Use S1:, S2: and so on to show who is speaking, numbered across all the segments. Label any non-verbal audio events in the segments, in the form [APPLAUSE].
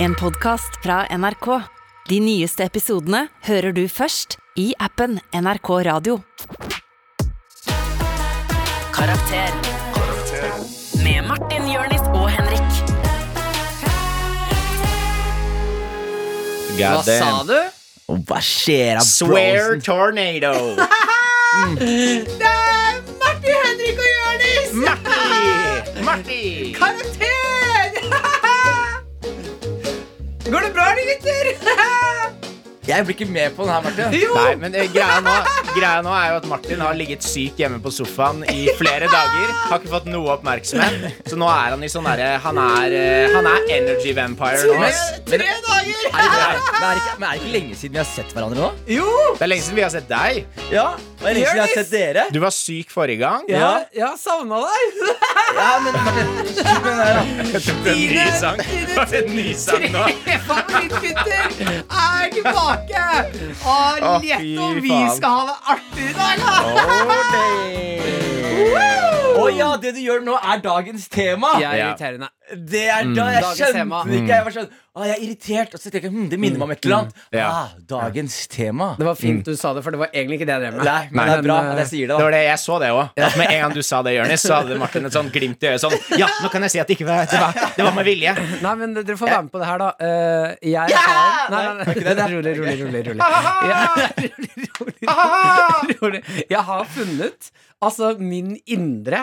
S1: En podcast fra NRK. De nyeste episodene hører du først i appen NRK Radio. Karakter. Med Martin, Jørnis og Henrik.
S2: Hva sa du?
S3: Hva skjer da,
S2: Swear tornado.
S4: Martin, Henrik og Jonis!
S2: Marty! Marty!
S4: Karakter! [LAUGHS] Går det bra, de gutter? [LAUGHS]
S3: Jeg blir ikke med på den her, Martin.
S4: Jo!
S2: Nei, men eh, greia nå, greia nå er jo at Martin har ligget syk hjemme på sofaen i flere dager. Har ikke fått noe oppmerksomhet. Så nå er han i sånn derre Han er eh, Han er energy vampire nå.
S4: Tre,
S2: ass.
S4: tre dager!
S3: Er det, er, men, er det ikke, men er det ikke lenge siden vi har sett hverandre nå?
S4: Jo!
S2: Det er lenge siden vi har sett deg.
S3: Ja, det er lenge siden jeg har
S4: Jonis!
S3: sett dere.
S2: Du var syk forrige gang.
S4: Ja, jeg har savna deg. [LAUGHS]
S3: Ja, men Martin, slutt med det her, da.
S2: Det er en ny sang.
S4: Dine-
S2: Det er en ny sang nå.
S4: Tre favorittgutter er tilbake! Å,
S2: Å, fy
S4: lett om vi
S2: faen.
S4: skal ha det artig i dag, da!
S2: Oh, day.
S3: Å ja, det du gjør nå, er dagens tema.
S4: [LAUGHS] Jeg er
S2: Ja. Mm.
S4: irriterende.
S3: Det er da jeg
S4: Dagens tema.
S3: skjønte det ikke. Jeg var sånn Å, jeg er irritert. Og så tenker jeg hm, det minner meg om et eller annet.
S2: Mm. Ja.
S3: Ah, dagens tema.
S4: Det var fint du sa det, for det var egentlig ikke det jeg drev med.
S3: Nei, men
S2: men,
S3: det er bra
S4: eh,
S3: at jeg sier det,
S2: Det
S3: da.
S2: var det, Jeg så det òg. Med en gang du sa det, Jonis, så hadde Martin et sånn glimt i øyet. Sånn, ja, nå kan jeg si at det ikke var Det var, det var med vilje.
S4: Nei, men dere får være med på det her, da. Eh, jeg
S3: Ja!
S4: har Nei, nei,
S3: Var ikke det
S4: nei.
S3: det?
S4: [LAUGHS] Rolig, rolig, rolig. rolig. Jeg, [LAUGHS] rolig, rolig, rolig. jeg har funnet altså min indre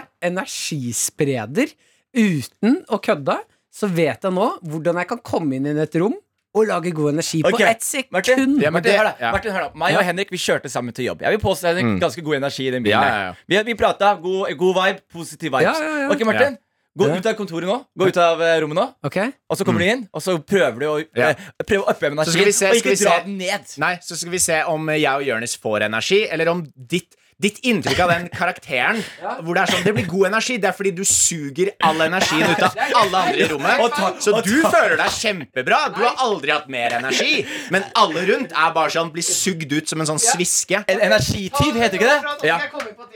S4: energispreder. Uten å kødde så vet jeg nå hvordan jeg kan komme inn i et rom og lage god energi
S3: Ok,
S4: på ett sekund.
S3: Martin,
S2: Ja, men
S3: Martin,
S2: det-
S3: hør da.
S2: ja. Mm.
S3: Martin, hør da. Meg og Henrik vi kjørte sammen til jobb. Jeg vil påstå Henrik, ganske god energi i den bilen.
S2: Ja,
S3: her.
S2: ja, ja.
S3: Vi, vi prata. God, god vibe, positive vibes.
S4: Ja, ja, ja.
S3: Ok, Martin. Gå
S4: Ja.
S3: ut av kontoret nå. Gå ut av eh, rommet nå.
S4: Ok?
S3: Og så kommer du inn, og så prøver du å
S2: Mm. Ja.
S3: eh, prøve å oppøve
S2: Så skal
S3: energien.
S2: vi se,
S3: og
S2: skal vi
S3: ikke dra
S2: se.
S3: den ned.
S2: Nei, så skal vi se om jeg og Jonis får energi, eller om ditt Ditt inntrykk av den karakteren hvor det er sånn Det blir god energi. Det er fordi du suger all energien ut av alle andre i rommet.
S3: Og takk-
S2: så
S3: og
S2: du
S3: takk.
S2: føler deg kjempebra. Du har aldri hatt mer energi. Men alle rundt er bare sånn blir sugd ut som en sånn sviske.
S3: En energityv, heter ikke det?
S2: Ja.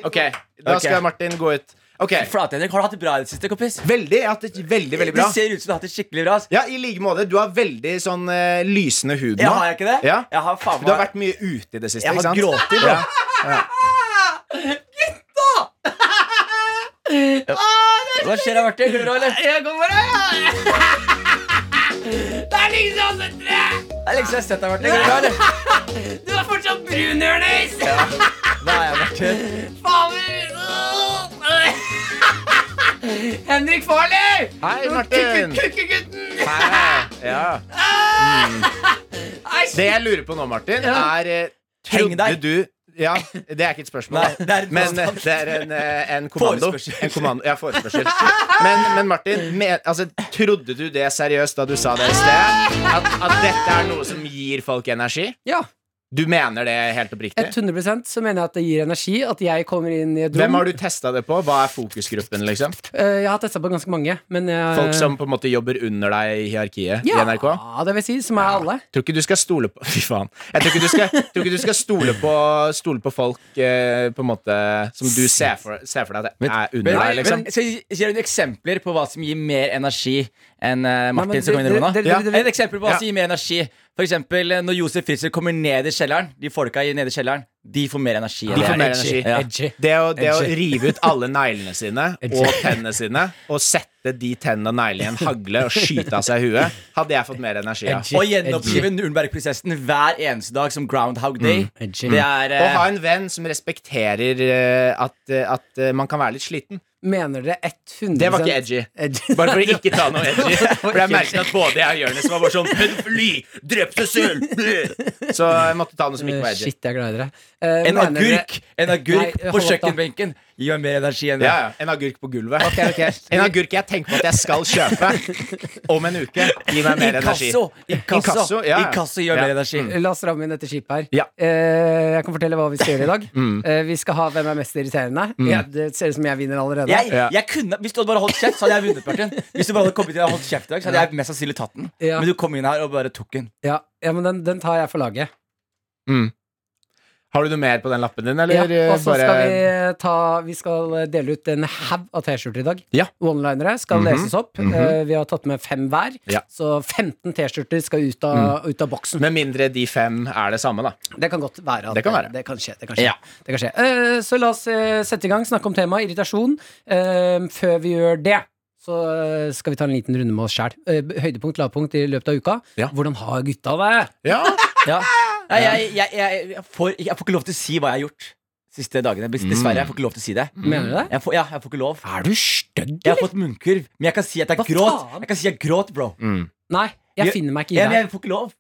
S2: Ok, da
S3: Ok.
S2: skal Martin gå ut. Ok,
S3: Flate-Henrik, har du hatt det bra i det siste, kompis?
S2: Veldig. Jeg har hatt det veldig, veldig bra.
S3: Det ser ut som du har hatt det skikkelig bra. ass.
S2: Ja, I like måte. Du har veldig sånn eh, lysende hud nå.
S3: Ja, har jeg ikke det?
S2: Ja.
S3: Jeg har faen
S2: Du har
S3: meg
S2: vært mye ute i det siste.
S3: Jeg
S2: ikke
S3: har
S2: sant?
S3: grått i, bro.
S2: ja.
S3: Hva skjer da, Martin? Går det bra, eller?
S4: Jeg går bare ja. Det er liksom sånn
S3: Det er lenge siden jeg har sett deg, Martin. Går det bra, eller?
S4: Du er fortsatt brun, Jonis!
S3: Hva er jeg, Martin?
S4: Fader! Henrik Farley!
S2: Hei, Martin.
S4: Kukkegutten!
S2: Hei. Ja. Mm. Det jeg lurer på nå, Martin,
S4: Ja.
S2: er eh,
S3: Heng
S2: Trodde
S3: deg.
S2: du ja, det er ikke et spørsmål,
S3: Nei, det er en
S2: men eh,
S3: påstand.
S2: det er en, eh, en kommando.
S3: Forespørsel.
S2: En kommando ja, forespørsel. Men, men Martin, men, altså, trodde du det seriøst da du sa det i sted? At, at dette er noe som gir folk energi?
S4: Ja,
S2: Du mener det helt oppriktig?
S4: 100 så mener jeg at det gir energi at jeg kommer inn i et rom.
S2: Hvem har du testa det på? Hva er fokusgruppen? liksom?
S4: Eh, Jeg har testa på ganske mange, men jeg,
S2: Folk som på en måte jobber under deg i hierarkiet
S4: ja,
S2: i NRK?
S4: det vil si. Som er alle.
S2: Tror ikke du skal stole på [LAUGHS] Fy faen. Jeg tror ikke du skal, tror ikke du skal stole, på, stole på folk eh, på en måte som du ser for, ser for deg at er under
S3: Men,
S2: deg, liksom.
S3: men, skal jeg gi- gir du eksempler på hva som gir mer energi enn eh,
S4: Nei, men
S3: Martin som kommer inn i
S4: dere-
S3: rommet nå?
S4: dere-
S2: Ja.
S4: dere-
S3: Et eksempel på hva
S2: Ja.
S3: som gir mer energi. For eksempel eh, når Josef Fritzel kommer ned i kjelleren. De folka i nede i kjelleren, de får mer energi.
S2: De
S3: enn
S2: får
S3: jeg.
S2: mer energi.
S3: Ja.
S2: Det å, det å rive ut alle neglene sine og tennene sine og sette de tennene og neglene i en hagle og skyte av seg huet, hadde jeg fått mer energi av.
S3: Og gjenopplive Nürnberg-prosessen hver eneste dag som Groundhog Day.
S2: Mm,
S4: edgy.
S3: Det er
S2: Å
S3: eh,
S2: ha en venn som respekterer eh, at, eh, at eh, man kan være litt sliten.
S4: Mener dere 100
S2: Det var ikke edgy.
S4: edgy.
S2: Bare for å ikke ta
S4: [LAUGHS]
S2: noe edgy. For jeg
S4: ikke
S2: merket at både jeg og Jonis var bare sånn Pedofili! Drepte sølv! Så jeg måtte ta noe som ikke var edgy.
S4: Shit, jeg er glad i dere. Eh,
S3: en
S4: mener dere-
S3: agurk, en agurk
S4: Nei,
S3: på
S4: hold opp da.
S3: kjøkkenbenken gir meg mer energi enn det.
S2: Ja, ja. En agurk på gulvet. En agurk jeg tenker på at jeg skal kjøpe om en uke. Gi meg mer energi.
S3: Inkasso! Inkasso,
S2: Inkasso, ja, ja.
S3: Inkasso gir
S2: Ja. Mm.
S3: mer energi.
S4: Eh, La oss ramme inn dette skipet her.
S2: Ja. Mm.
S4: Eh, jeg kan fortelle hva vi skal gjøre i
S2: [LAUGHS]
S4: dag. Eh, vi skal ha Hvem er mest irriterende. Ja, det ser ut som jeg vinner allerede.
S3: Jeg,
S2: Ja.
S3: jeg kunne, hvis du hadde bare holdt kjeft, så hadde jeg vunnet. Martin. Hvis du bare hadde kommet inn og holdt kjeft i dag, så hadde jeg mest sannsynlig tatt den.
S4: Ja.
S3: Men du kom inn her og bare tok den.
S4: Ja, ja men den, den tar jeg for laget.
S2: Mm. Har du noe mer på den lappen din, eller
S4: Ja, og
S2: eh,
S4: så
S2: bare
S4: skal vi ta Vi skal dele ut en haug av T-skjorter i dag.
S2: Ja. Mhm.
S4: One-linere skal leses opp. Eh, Vi har tatt med fem hver,
S2: Ja. Mm.
S4: så 15 T-skjorter skal ut av, ut av boksen.
S2: Med mindre de fem er det samme, da.
S4: Det kan godt være. at
S2: Det kan være.
S4: Det kan skje. Det kan skje.
S2: Ja.
S4: Det kan skje. Eh, så la oss eh, sette i gang, snakke om temaet irritasjon. Eh, før vi gjør det, så eh, skal vi ta en liten runde med oss sjæl. Eh, høydepunkt, lavpunkt i løpet av uka.
S2: Ja.
S4: Hvordan har gutta det?
S2: Ja,
S3: Ja. Nei, jeg, jeg, jeg, jeg, får, jeg får ikke lov til å si hva jeg har gjort siste dagene. Dessverre. Jeg får ikke lov til å si det.
S4: Mener du det?
S3: Jeg får, ja, jeg får ikke lov.
S4: Mm. Er du stygg,
S3: Jeg har fått munnkurv, men jeg kan si at jeg
S4: Hva
S3: gråt.
S4: faen?
S3: Jeg kan si jeg gråt, bro.
S4: Nei, jeg
S3: Jeg-
S4: finner meg ikke
S3: Ja,
S4: i
S3: men
S4: deg.
S3: jeg får ikke lov.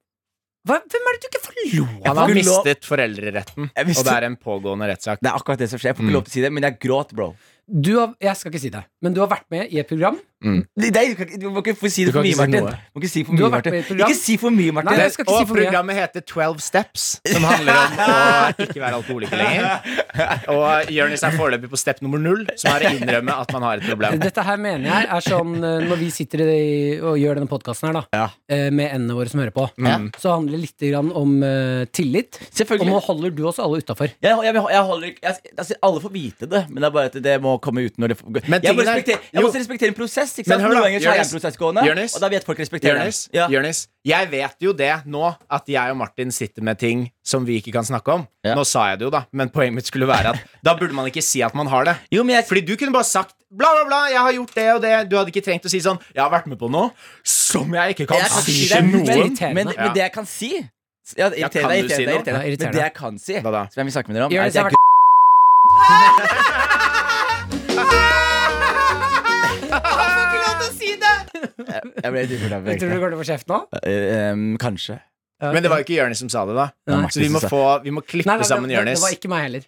S4: Hva- Hvem er det du ikke får lov
S2: Han
S4: av?
S2: har
S3: Skulle lov-
S2: mistet foreldreretten,
S3: Jeg visste-
S2: og det er en pågående rettssak.
S3: Det er akkurat det som skjer. Jeg får ikke
S2: Mm.
S3: lov til å si det, men jeg gråt, bro.
S4: Du har, jeg skal ikke si det, men du har vært med i et program.
S3: Nei, du, kan, ikke- du må ikke få si det
S2: Du kan
S3: for mye,
S2: ikke si
S3: Martin.
S2: noe.
S3: Du må ikke si for
S4: Du
S3: mye,
S4: har vært
S3: Martin.
S4: med i et program.
S3: Ikke si for mye, Martin.
S4: Nei, jeg skal ikke si
S2: og
S4: for mye.
S2: programmet heter 12 Steps, som handler om å ikke være alkoholiker lenger. Og Jonis er foreløpig på step nummer null, som er å innrømme at man har et problem.
S4: Dette her mener jeg er sånn eh, Når vi sitter i, og gjør denne podkasten her, da,
S3: Ja.
S4: eh, med endene våre som hører på, så handler det litt grann om eh, tillit. Og
S3: Selvfølgelig.
S4: nå holder du oss alle utafor.
S3: Jeg, jeg, jeg holder ikke jeg, altså, Alle får vite det, men det er bare at det må komme ut når det får-
S2: Men
S3: Jeg må,
S2: tingen er-
S3: respektere, jeg må
S2: jo.
S3: også respektere en prosess. Ikke
S2: Men
S3: sant?
S2: hør da,
S3: Noen ganger så er
S2: Jonas.
S3: en prosess gående,
S2: Jonas.
S3: og da vet folk respektere
S2: Jonis,
S3: den. Ja.
S2: Jonis, jeg vet jo det nå, at jeg og Martin sitter med ting som vi ikke kan snakke om.
S3: Ja.
S2: Nå sa jeg det jo, da, men poenget mitt skulle være at da burde man ikke si at man har det.
S3: Jo, men jeg,
S2: Fordi du kunne bare sagt bla, bla, bla, jeg har gjort det og det. Du hadde ikke trengt å si sånn, jeg har vært med på noe som jeg ikke kan
S3: jeg kan
S2: si
S3: si det,
S2: til
S3: men,
S2: noen.
S4: irriterende.
S3: men, men
S2: Ja.
S3: det jeg kan si ja, irriterende,
S2: kan du si
S3: irriterende,
S2: noe?
S3: irriterende.
S4: Ja, irriterende.
S3: Men det jeg kan si,
S2: Hva da?
S3: som jeg vil snakke med dere om, er
S4: Jonas
S3: at jeg
S4: har
S3: gr- Jeg ble litt ufornøyd,
S4: Tror du du
S3: egentlig.
S4: går til å få kjeft nå?
S3: Eh, em, Kanskje.
S2: [LAUGHS] Men det var jo ikke Jonis som sa det, da.
S4: Nei.
S2: Så vi må, få, vi må klippe
S4: Nei, nei,
S2: sammen
S4: det, det,
S2: Jonis.
S4: det var ikke meg heller.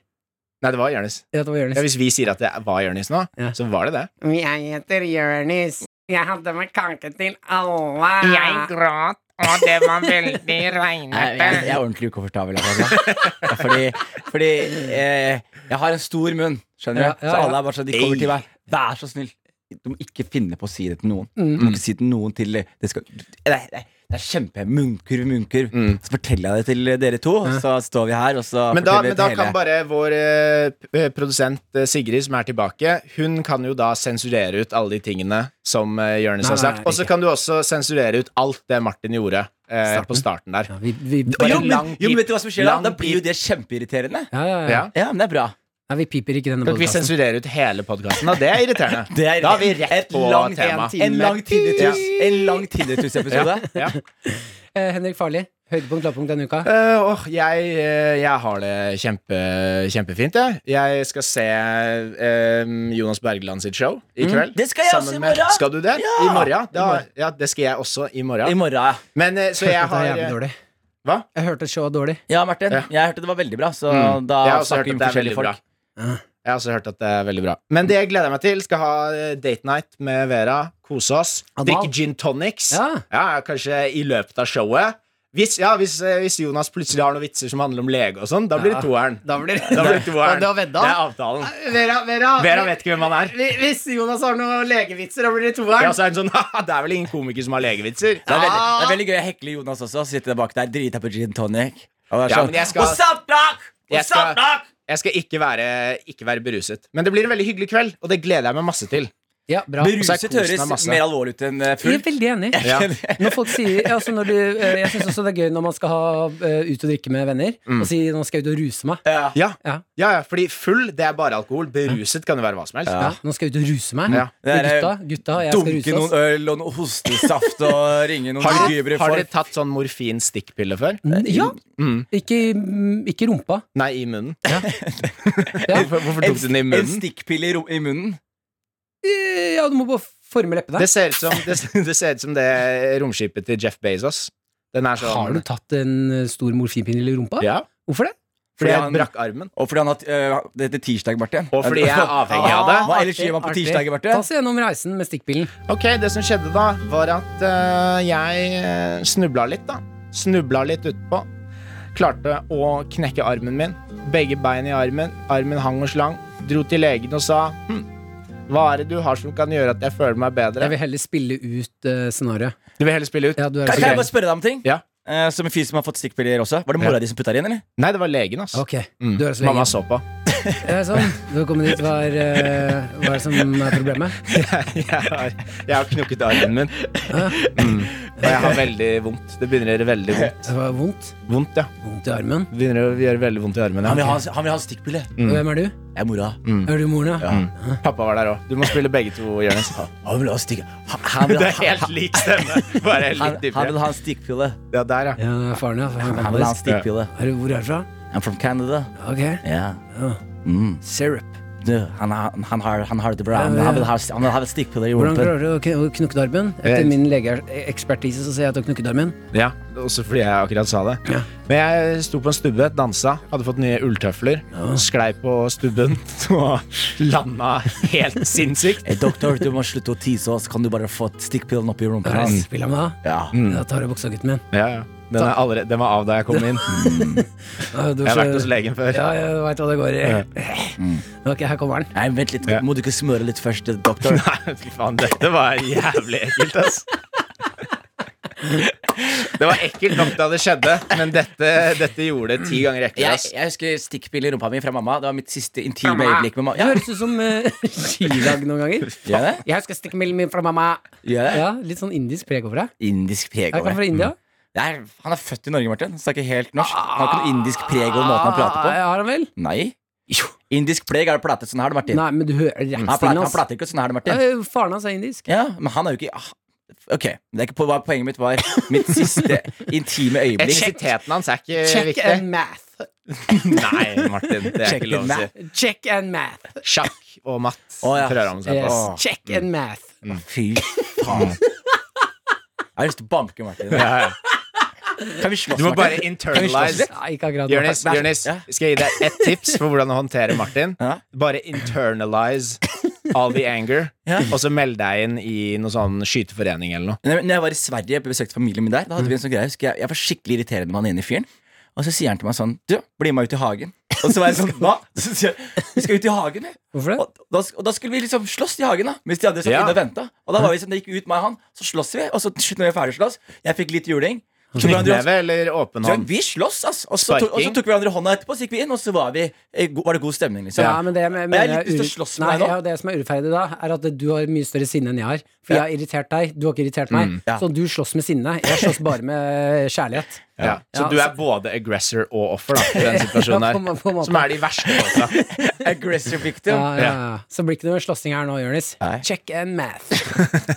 S2: Nei, det var Jonis.
S4: Ja, Det var
S2: Ja,
S4: Jonis.
S2: hvis vi sier at det var Jonis nå,
S4: Ja.
S2: så var det det.
S4: Jeg heter Jonis. Jeg hadde med kake til alle.
S5: Jeg gråt, og det var veldig
S3: Jeg, jeg, jeg
S5: regnete.
S3: er ordentlig ukomfortabel. Altså. Fordi, fordi eh, jeg har en stor munn, skjønner du.
S4: Ja, ja,
S3: Så
S4: ja.
S3: alle er bare sånn, de
S2: Ei.
S3: kommer til meg. Vær så snill, du må ikke finne på å si det til noen. Du må ikke si det til noen til det skal, Nei, nei, det er kjempe munnkurv, munnkurv. Så forteller jeg det til dere to, så står vi her, og så
S2: Men da,
S3: forteller vi
S2: men da
S3: til
S2: kan
S3: hele.
S2: bare vår eh, p- eh, produsent eh, Sigrid, som er tilbake, hun kan jo da sensurere ut alle de tingene som eh, Jonis
S4: Nei,
S2: har
S4: nei, nei,
S2: sagt. Og så kan du også sensurere ut alt det Martin gjorde eh, på starten der.
S4: Ja, vi, vi,
S3: jo,
S4: bare,
S3: men,
S2: lang
S3: jo,
S2: pip-
S3: men vet du hva som skjer da?
S2: lang
S3: Da blir jo det kjempeirriterende.
S4: ja, ja, ja.
S2: Ja.
S3: Ja, men det er bra.
S4: Nei, vi piper ikke i denne
S2: Kan ikke vi
S4: podkasten.
S2: sensurere ut hele podkasten? Det er irriterende.
S4: [LAUGHS]
S3: Det er-
S2: da er vi rett
S3: Et
S2: på
S3: langt-
S2: tema.
S3: En lang
S2: Ja.
S3: tinnitus En lang tinnitus-episode.
S2: Ja.
S4: Eh, Henrik Farli, høydepunkt, lavpunkt denne uka.
S2: Eh, åh, jeg, eh, jeg har det kjempe, kjempefint, jeg. Jeg skal se eh, Jonas Bergland sitt show i kveld.
S3: Mm. Det skal jeg
S2: Sammen
S3: også i
S2: med-
S3: morgen.
S2: Skal du det?
S3: Ja.
S2: I morgen? Da, ja, det skal jeg også i
S3: I
S2: morgen.
S3: morgen, ja.
S2: Men eh, så
S3: [LAUGHS]
S2: jeg
S4: Dette er
S2: har
S4: jævlig dårlig.
S2: Hva?
S4: Jeg hørte showet er dårlig.
S3: Ja, Martin.
S2: Ja.
S3: Jeg hørte det var veldig bra, så
S2: Mm.
S3: da
S2: Jeg har også hørt
S3: snakker vi
S2: at
S3: med
S2: det er
S3: forskjellige
S2: veldig bra.
S3: folk.
S2: Jeg har også hørt at det er veldig bra. Men det jeg gleder jeg meg til. Skal ha eh, date night med Vera. Kose oss.
S4: Anal.
S2: Drikke gin tonics.
S4: Ja.
S2: kanskje i løpet av showet. Hvis, ja, hvis, eh, hvis Jonas plutselig har noen vitser som handler om lege og sånn, da blir det toeren.
S4: Da [LAUGHS] blir det
S2: Da blir det toeren.
S4: Og du har vedda?
S2: Det er avtalen.
S4: Vera, Vera,
S2: Vera vet ikke hvem han er.
S4: Hvis Jonas har noen legevitser, da blir det
S2: Ja,
S4: toeren.
S2: så er hun sånn [LAUGHS] Haha, det er vel ingen komiker som har legevitser.
S3: Det er,
S4: Ah!
S3: veldig, det er veldig gøy å hekle Jonas også. Sitte der bak der, drita på gin tonic. Og det er
S2: Ja,
S3: sånn
S2: men jeg skal-
S3: What's up, doc?
S2: Jeg
S3: What's up,
S2: skal-
S3: doc?
S2: Jeg skal ikke være, ikke være beruset. Men det blir en veldig hyggelig kveld, og det gleder jeg meg masse til.
S4: Ja, bra.
S2: så er
S3: Beruset
S2: kosen av
S3: høres
S2: masse.
S3: mer alvorlig ut enn eh,
S4: Jeg er
S3: full.
S4: veldig enig.
S2: Ja.
S4: Når folk sier altså når du, eh, Jeg syns også det er gøy når man skal ha, eh, ut og drikke med venner, og si 'nå skal jeg ut og ruse meg'.
S3: [LAUGHS] Ja.
S2: [LAUGHS] Ja.
S4: Ja.
S2: Ja, ja, fordi full, det er bare alkohol. Beruset kan jo være hva som helst.
S4: Ja. Nå skal jeg ut og ruse meg.
S2: Ja.
S4: Med
S3: Det er,
S4: gutta, gutta og jeg skal
S3: Dunke
S4: ruse oss.
S3: noen øl og noe hostesaft og ringe noen
S2: Har dere,
S3: lugubre
S2: har dere
S3: folk.
S2: tatt sånn morfin-stikkpille før?
S4: Ja. Ikke, mm, ikke rumpa.
S2: Nei, i munnen. [LAUGHS]
S4: Ja.
S2: Hvorfor, hvorfor tok du den i
S3: En
S2: munnen?
S3: stikkpille i, ro- i munnen.
S4: Eh, ja, du må bare forme leppene.
S2: Det ser ut som det, det, [LAUGHS] ser ut som det romskipet til Jeff Bezos. Den er sånn
S4: Har du tatt en eh, stor morfinpinne i rumpa?
S2: Ja,
S4: Hvorfor det?
S2: fordi jeg
S3: han-
S2: brakk armen.
S3: Og fordi han har øh, Det heter tirsdag, Martin. Ah,
S2: Og fordi
S3: [LAUGHS]
S2: jeg er avhengig av det.
S3: Hva ellers gjør man på
S4: Artig.
S3: tirsdager,
S4: Ta
S3: Martin?
S4: oss gjennom reisen med stikkpilen.
S2: Ok, det som skjedde da, var at eh, jeg snubla litt, da. Snubla litt utpå. Klarte å knekke armen min. Begge bein i armen. Armen hang og slang. Dro til legen og sa hm, hva er det du har som kan gjøre at jeg føler meg
S4: Jeg
S2: bedre?
S4: vil heller spille ut uh, scenarioet.
S2: Du vil heller spille ut?
S4: Ja, du er
S3: Kan
S4: så
S3: kan jeg
S4: gøy.
S3: bare spørre deg om ting?
S2: Ja.
S3: eh, som en fyr som har fått stikkpiller også. Var det mora
S2: Ja.
S3: di som putta det inn, eller?
S2: Nei, det var legen, ass.
S4: Ok,
S2: Mm.
S4: du er så
S2: Mamma
S4: lenge.
S2: så på. [LAUGHS]
S4: Det er sånn. Velkommen hit. Hva er, eh, hva er det som er problemet?
S2: jeg, har, jeg har knukket armen min. Mm. Og jeg har veldig vondt. Det begynner å gjøre veldig vondt.
S4: Det var vondt.
S2: [LAUGHS] Vondt, ja.
S4: Vondt i armen.
S2: Det Begynner å gjøre veldig vondt i armen.
S3: Han vil
S2: [LAUGHS] Ja.
S3: ha, han vil ha en stikkpille.
S2: Mm.
S4: Og hvem er du?
S3: Jeg er mora.
S4: Er du moren, ja?
S2: Pappa var der òg. Du må spille begge to, Jonis.
S3: Han vil ha stikk... Han, han, vil,
S2: Det
S3: [LAUGHS]
S2: er
S3: ha-
S2: helt lik stemme. Bare
S3: han,
S2: litt
S3: han vil
S2: dypere.
S3: ha en stikkpille.
S2: Ja, der, ja.
S4: Ja, det er faren, ja. Faren,
S3: Han vil ha en stikkpille.
S4: Er du, hvor er du fra?
S3: I'm from Canada.
S4: Ok.
S3: Ja.
S4: Ja.
S3: Mm.
S4: Syrup.
S3: Du, han, han, han, har, han har det bra. Han,
S4: Ja, ja.
S3: han vil ha, han vil ha stikkpiller i
S4: Hvordan
S3: rumpen.
S4: klarer du å kn- å knukke armen? Etter
S2: Vet.
S4: min legeekspertise så ser jeg at du har knukket armen.
S2: ja. Også fordi jeg akkurat sa det. Men jeg sto på en stubbe, dansa, hadde fått nye ulltøfler. Sklei på stubben [LAUGHS] og landa helt sinnssykt.
S3: Eh, Doktor, du må slutte å tise oss. Kan du bare få stikkpillen opp i rumpen
S4: Hva er det
S3: hans?
S4: spillet med da?
S3: Ja.
S2: Mm.
S4: Da tar jeg buksa, gutten min.
S2: Ja, ja. Den, er allerede, den var av da jeg kom [LAUGHS] inn.
S4: Ja, du
S2: Jeg har
S4: så-
S2: vært hos Mm. legen før.
S4: Ja, jeg veit hva det går i. [LAUGHS] Ok, her kommer den.
S3: Nei, vent litt.
S2: Ja.
S3: Må du ikke smøre litt først, eh, doktor?
S2: [LAUGHS] Nei, fy faen, dette var jævlig ekkelt, ass. Det var ekkelt nok da det skjedde, men dette, dette gjorde det ti ganger ekkelt,
S3: Jeg,
S2: ass.
S3: jeg husker stikkpille i rumpa mi fra mamma. Det var mitt siste intime
S4: Mamma.
S3: øyeblikk med mamma.
S4: Det
S3: Ja,
S4: høres ut som eh, [LAUGHS] skidag noen ganger.
S3: gjør det?
S4: Jeg skal stikke melden min fra mamma.
S3: Gjør det?
S4: Ja, Litt sånn indisk preg over deg.
S3: Indisk preg
S4: Er ikke han
S3: over
S4: fra
S3: det.
S4: India?
S3: Det er- Han er født i Norge, Martin. Han Snakker helt norsk. Han har ikke noe indisk preg over måten han prater
S4: Ah,
S3: på.
S4: Har han vel?
S3: Nei. Indisk preg er platet sånn her, det, Martin.
S4: Nei, men du hører
S3: Han plater,
S4: rettstilen
S3: han
S4: hans.
S3: plater ikke sånn her, det, Martin.
S4: Eh, Faren hans er indisk.
S3: Ja, men han er jo ikke ah, Ok, det er ikke på hva poenget mitt var. Mitt siste
S4: [LAUGHS]
S3: intime øyeblikk.
S2: Etnisiteten hans er ikke
S4: Check
S2: viktig.
S4: and math.
S2: Nei, Martin, det er
S3: Check
S2: ikke lov
S3: it,
S2: å si.
S4: Check and math.
S2: Sjakk og matt
S3: Å, ja.
S2: prøver han seg
S4: Yes.
S2: på.
S3: Åh.
S4: Check and math.
S3: Fy faen. Jeg har lyst til å banke Martin.
S2: Ja, ja.
S3: Kan vi slåss,
S2: Du må bare
S3: Martin?
S2: internalize.
S4: Ja, ikke akkurat nå.
S2: Jonis, Jonis,
S3: Ja.
S2: skal jeg gi deg ett tips for hvordan å håndtere Martin?
S3: Ja.
S2: Bare internalize all the anger,
S3: Ja.
S2: og så meld deg inn i noen sånn skyteforening eller noe.
S3: Når når jeg var i Sverige og besøkte familien min der,
S4: Mm.
S3: Da hadde vi en sånn greie husker jeg, jeg var skikkelig irriterende med han ene fyren. Og så sier han til meg sånn Du, bli med meg ut i hagen. Og så var jeg sånn Hva? Så sier jeg Vi skal ut i hagen, vi.
S4: Hvorfor det?
S3: Og da, og da skulle vi liksom slåss i hagen, da mens de andre satt
S2: Ja.
S3: inne og venta. Og da var vi liksom, det gikk ut meg og han, så slåss vi. Og så til slutt, når vi var ferdig å slåss, jeg fikk litt juling. Så ble han-
S2: Knyttneve eller åpen
S3: Så
S2: hånd?
S3: vi slåss, ass. Og så, tok, og så
S2: Sparking.
S3: tok vi hverandre i hånda etterpå, så gikk vi inn, og så var, vi, eh, go- var det god stemning, liksom.
S4: Ja, men det jeg
S3: Og
S4: mener
S3: jeg har litt lyst til å
S4: ur-
S3: slåss med deg
S4: Nei,
S3: nå.
S4: ja, Det som er urettferdig da, er at du har mye større sinne enn jeg har. For jeg har irritert deg, du har ikke irritert meg.
S3: ja.
S4: Så du slåss med sinne. Jeg slåss bare med eh, kjærlighet.
S2: Ja. Så
S4: Ja,
S2: du er både aggressor og offer da, i den situasjonen
S4: Ja, på en-
S2: her.
S4: på en måte.
S2: Som er de verste altså. også.
S3: Aggressor
S4: Ja,
S3: victim.
S4: ja, ja. eh, Så blir det ikke noe slåssing her nå, Jonis.
S3: Nei.
S4: Check and math.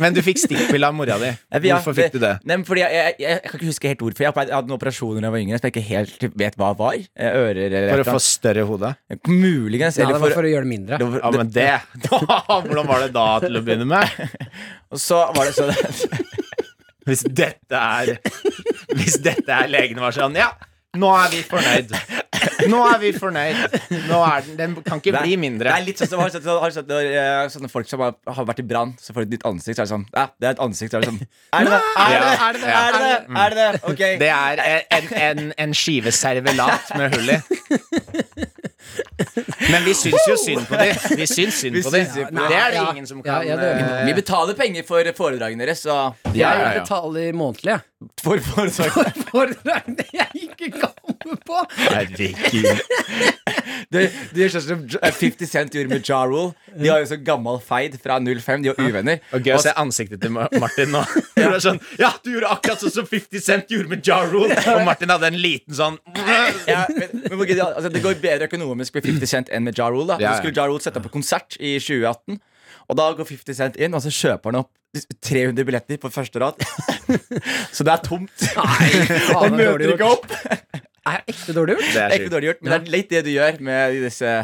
S2: Men du fikk stikkpille av mora di.
S3: Jeg- jeg-
S2: Hvorfor fikk du det?
S3: Eh, Nei, men fordi jeg, jeg, jeg, kan ikke huske helt hvorfor. Jeg hadde jeg hadde noen operasjoner da jeg var yngre som jeg ikke helt vet hva var. Eh, Ører eller
S2: For å
S3: et eller
S2: få større hode?
S3: annet. Muligens.
S4: Nei,
S3: Eller
S4: det var
S3: for,
S4: for å gjøre det mindre.
S3: det var-
S2: Ja, men det Hvordan var det [LAUGHS] da til å begynne med?
S3: Og så var det sånn-
S2: [LAUGHS]
S3: så
S2: Hvis dette er Hvis dette er legen var sånn Ja, nå er vi fornøyd. Nå er vi fornøyd. Nå er den Den kan ikke bli mindre.
S3: Det er litt sånn som har, sånn, har, sånn, når, eh, sånne folk som har, har vært i brann, så får de et nytt ansikt, så er det sånn «Ja, Det er et ansikt, så er det sånn
S2: [LAUGHS]
S3: Er det det? Er det
S2: Ja. Mm.
S3: er det? Er det? det? Er det? det? Ok.
S2: Det er en, en, en skive servelat med hull i. Men vi syns jo synd på dem. Vi syns synd
S3: Vi
S2: på dem.
S3: syns synd på
S2: Det er det
S4: dem.
S2: ingen som
S4: Ja,
S2: kan
S4: ja, det er
S2: eh,
S3: Vi betaler penger for foredragene deres, så
S2: ja, ja, ja.
S4: Jeg betaler månedlig, jeg.
S3: For foredrag
S2: [LAUGHS]
S4: For det jeg ikke kommer på!
S2: Herregud.
S3: Det det gjør sånn som Ja- 50 Cent gjorde med Ja Rule. De har jo så gammel feid fra 05. De var uvenner.
S2: Og gøy å se ansiktet til Ma- Martin nå. Du er sånn, ja, du gjorde akkurat sånn som 50 Cent gjorde med Ja Rule. Og Martin hadde en liten sånn
S3: [LAUGHS] Ja, men, men hvor gøy det- altså, Det går bedre økonomisk med 50 Cent enn med Ja Rule. Da.
S2: Ja, ja.
S3: Så skulle Ja Rule sette opp en konsert i 2018, og da går 50 Cent inn, og så kjøper han opp 300 billetter på første rad. [LAUGHS] Så det er tomt. [LAUGHS]
S4: Faen,
S3: Han
S4: det er dårlig
S3: møter
S4: gjort.
S3: ikke opp.
S4: Er jeg ekte dårlig gjort?
S2: Det
S3: Det
S2: er
S3: er ikke
S2: sjukt.
S3: dårlig gjort, men det er litt det du gjør med disse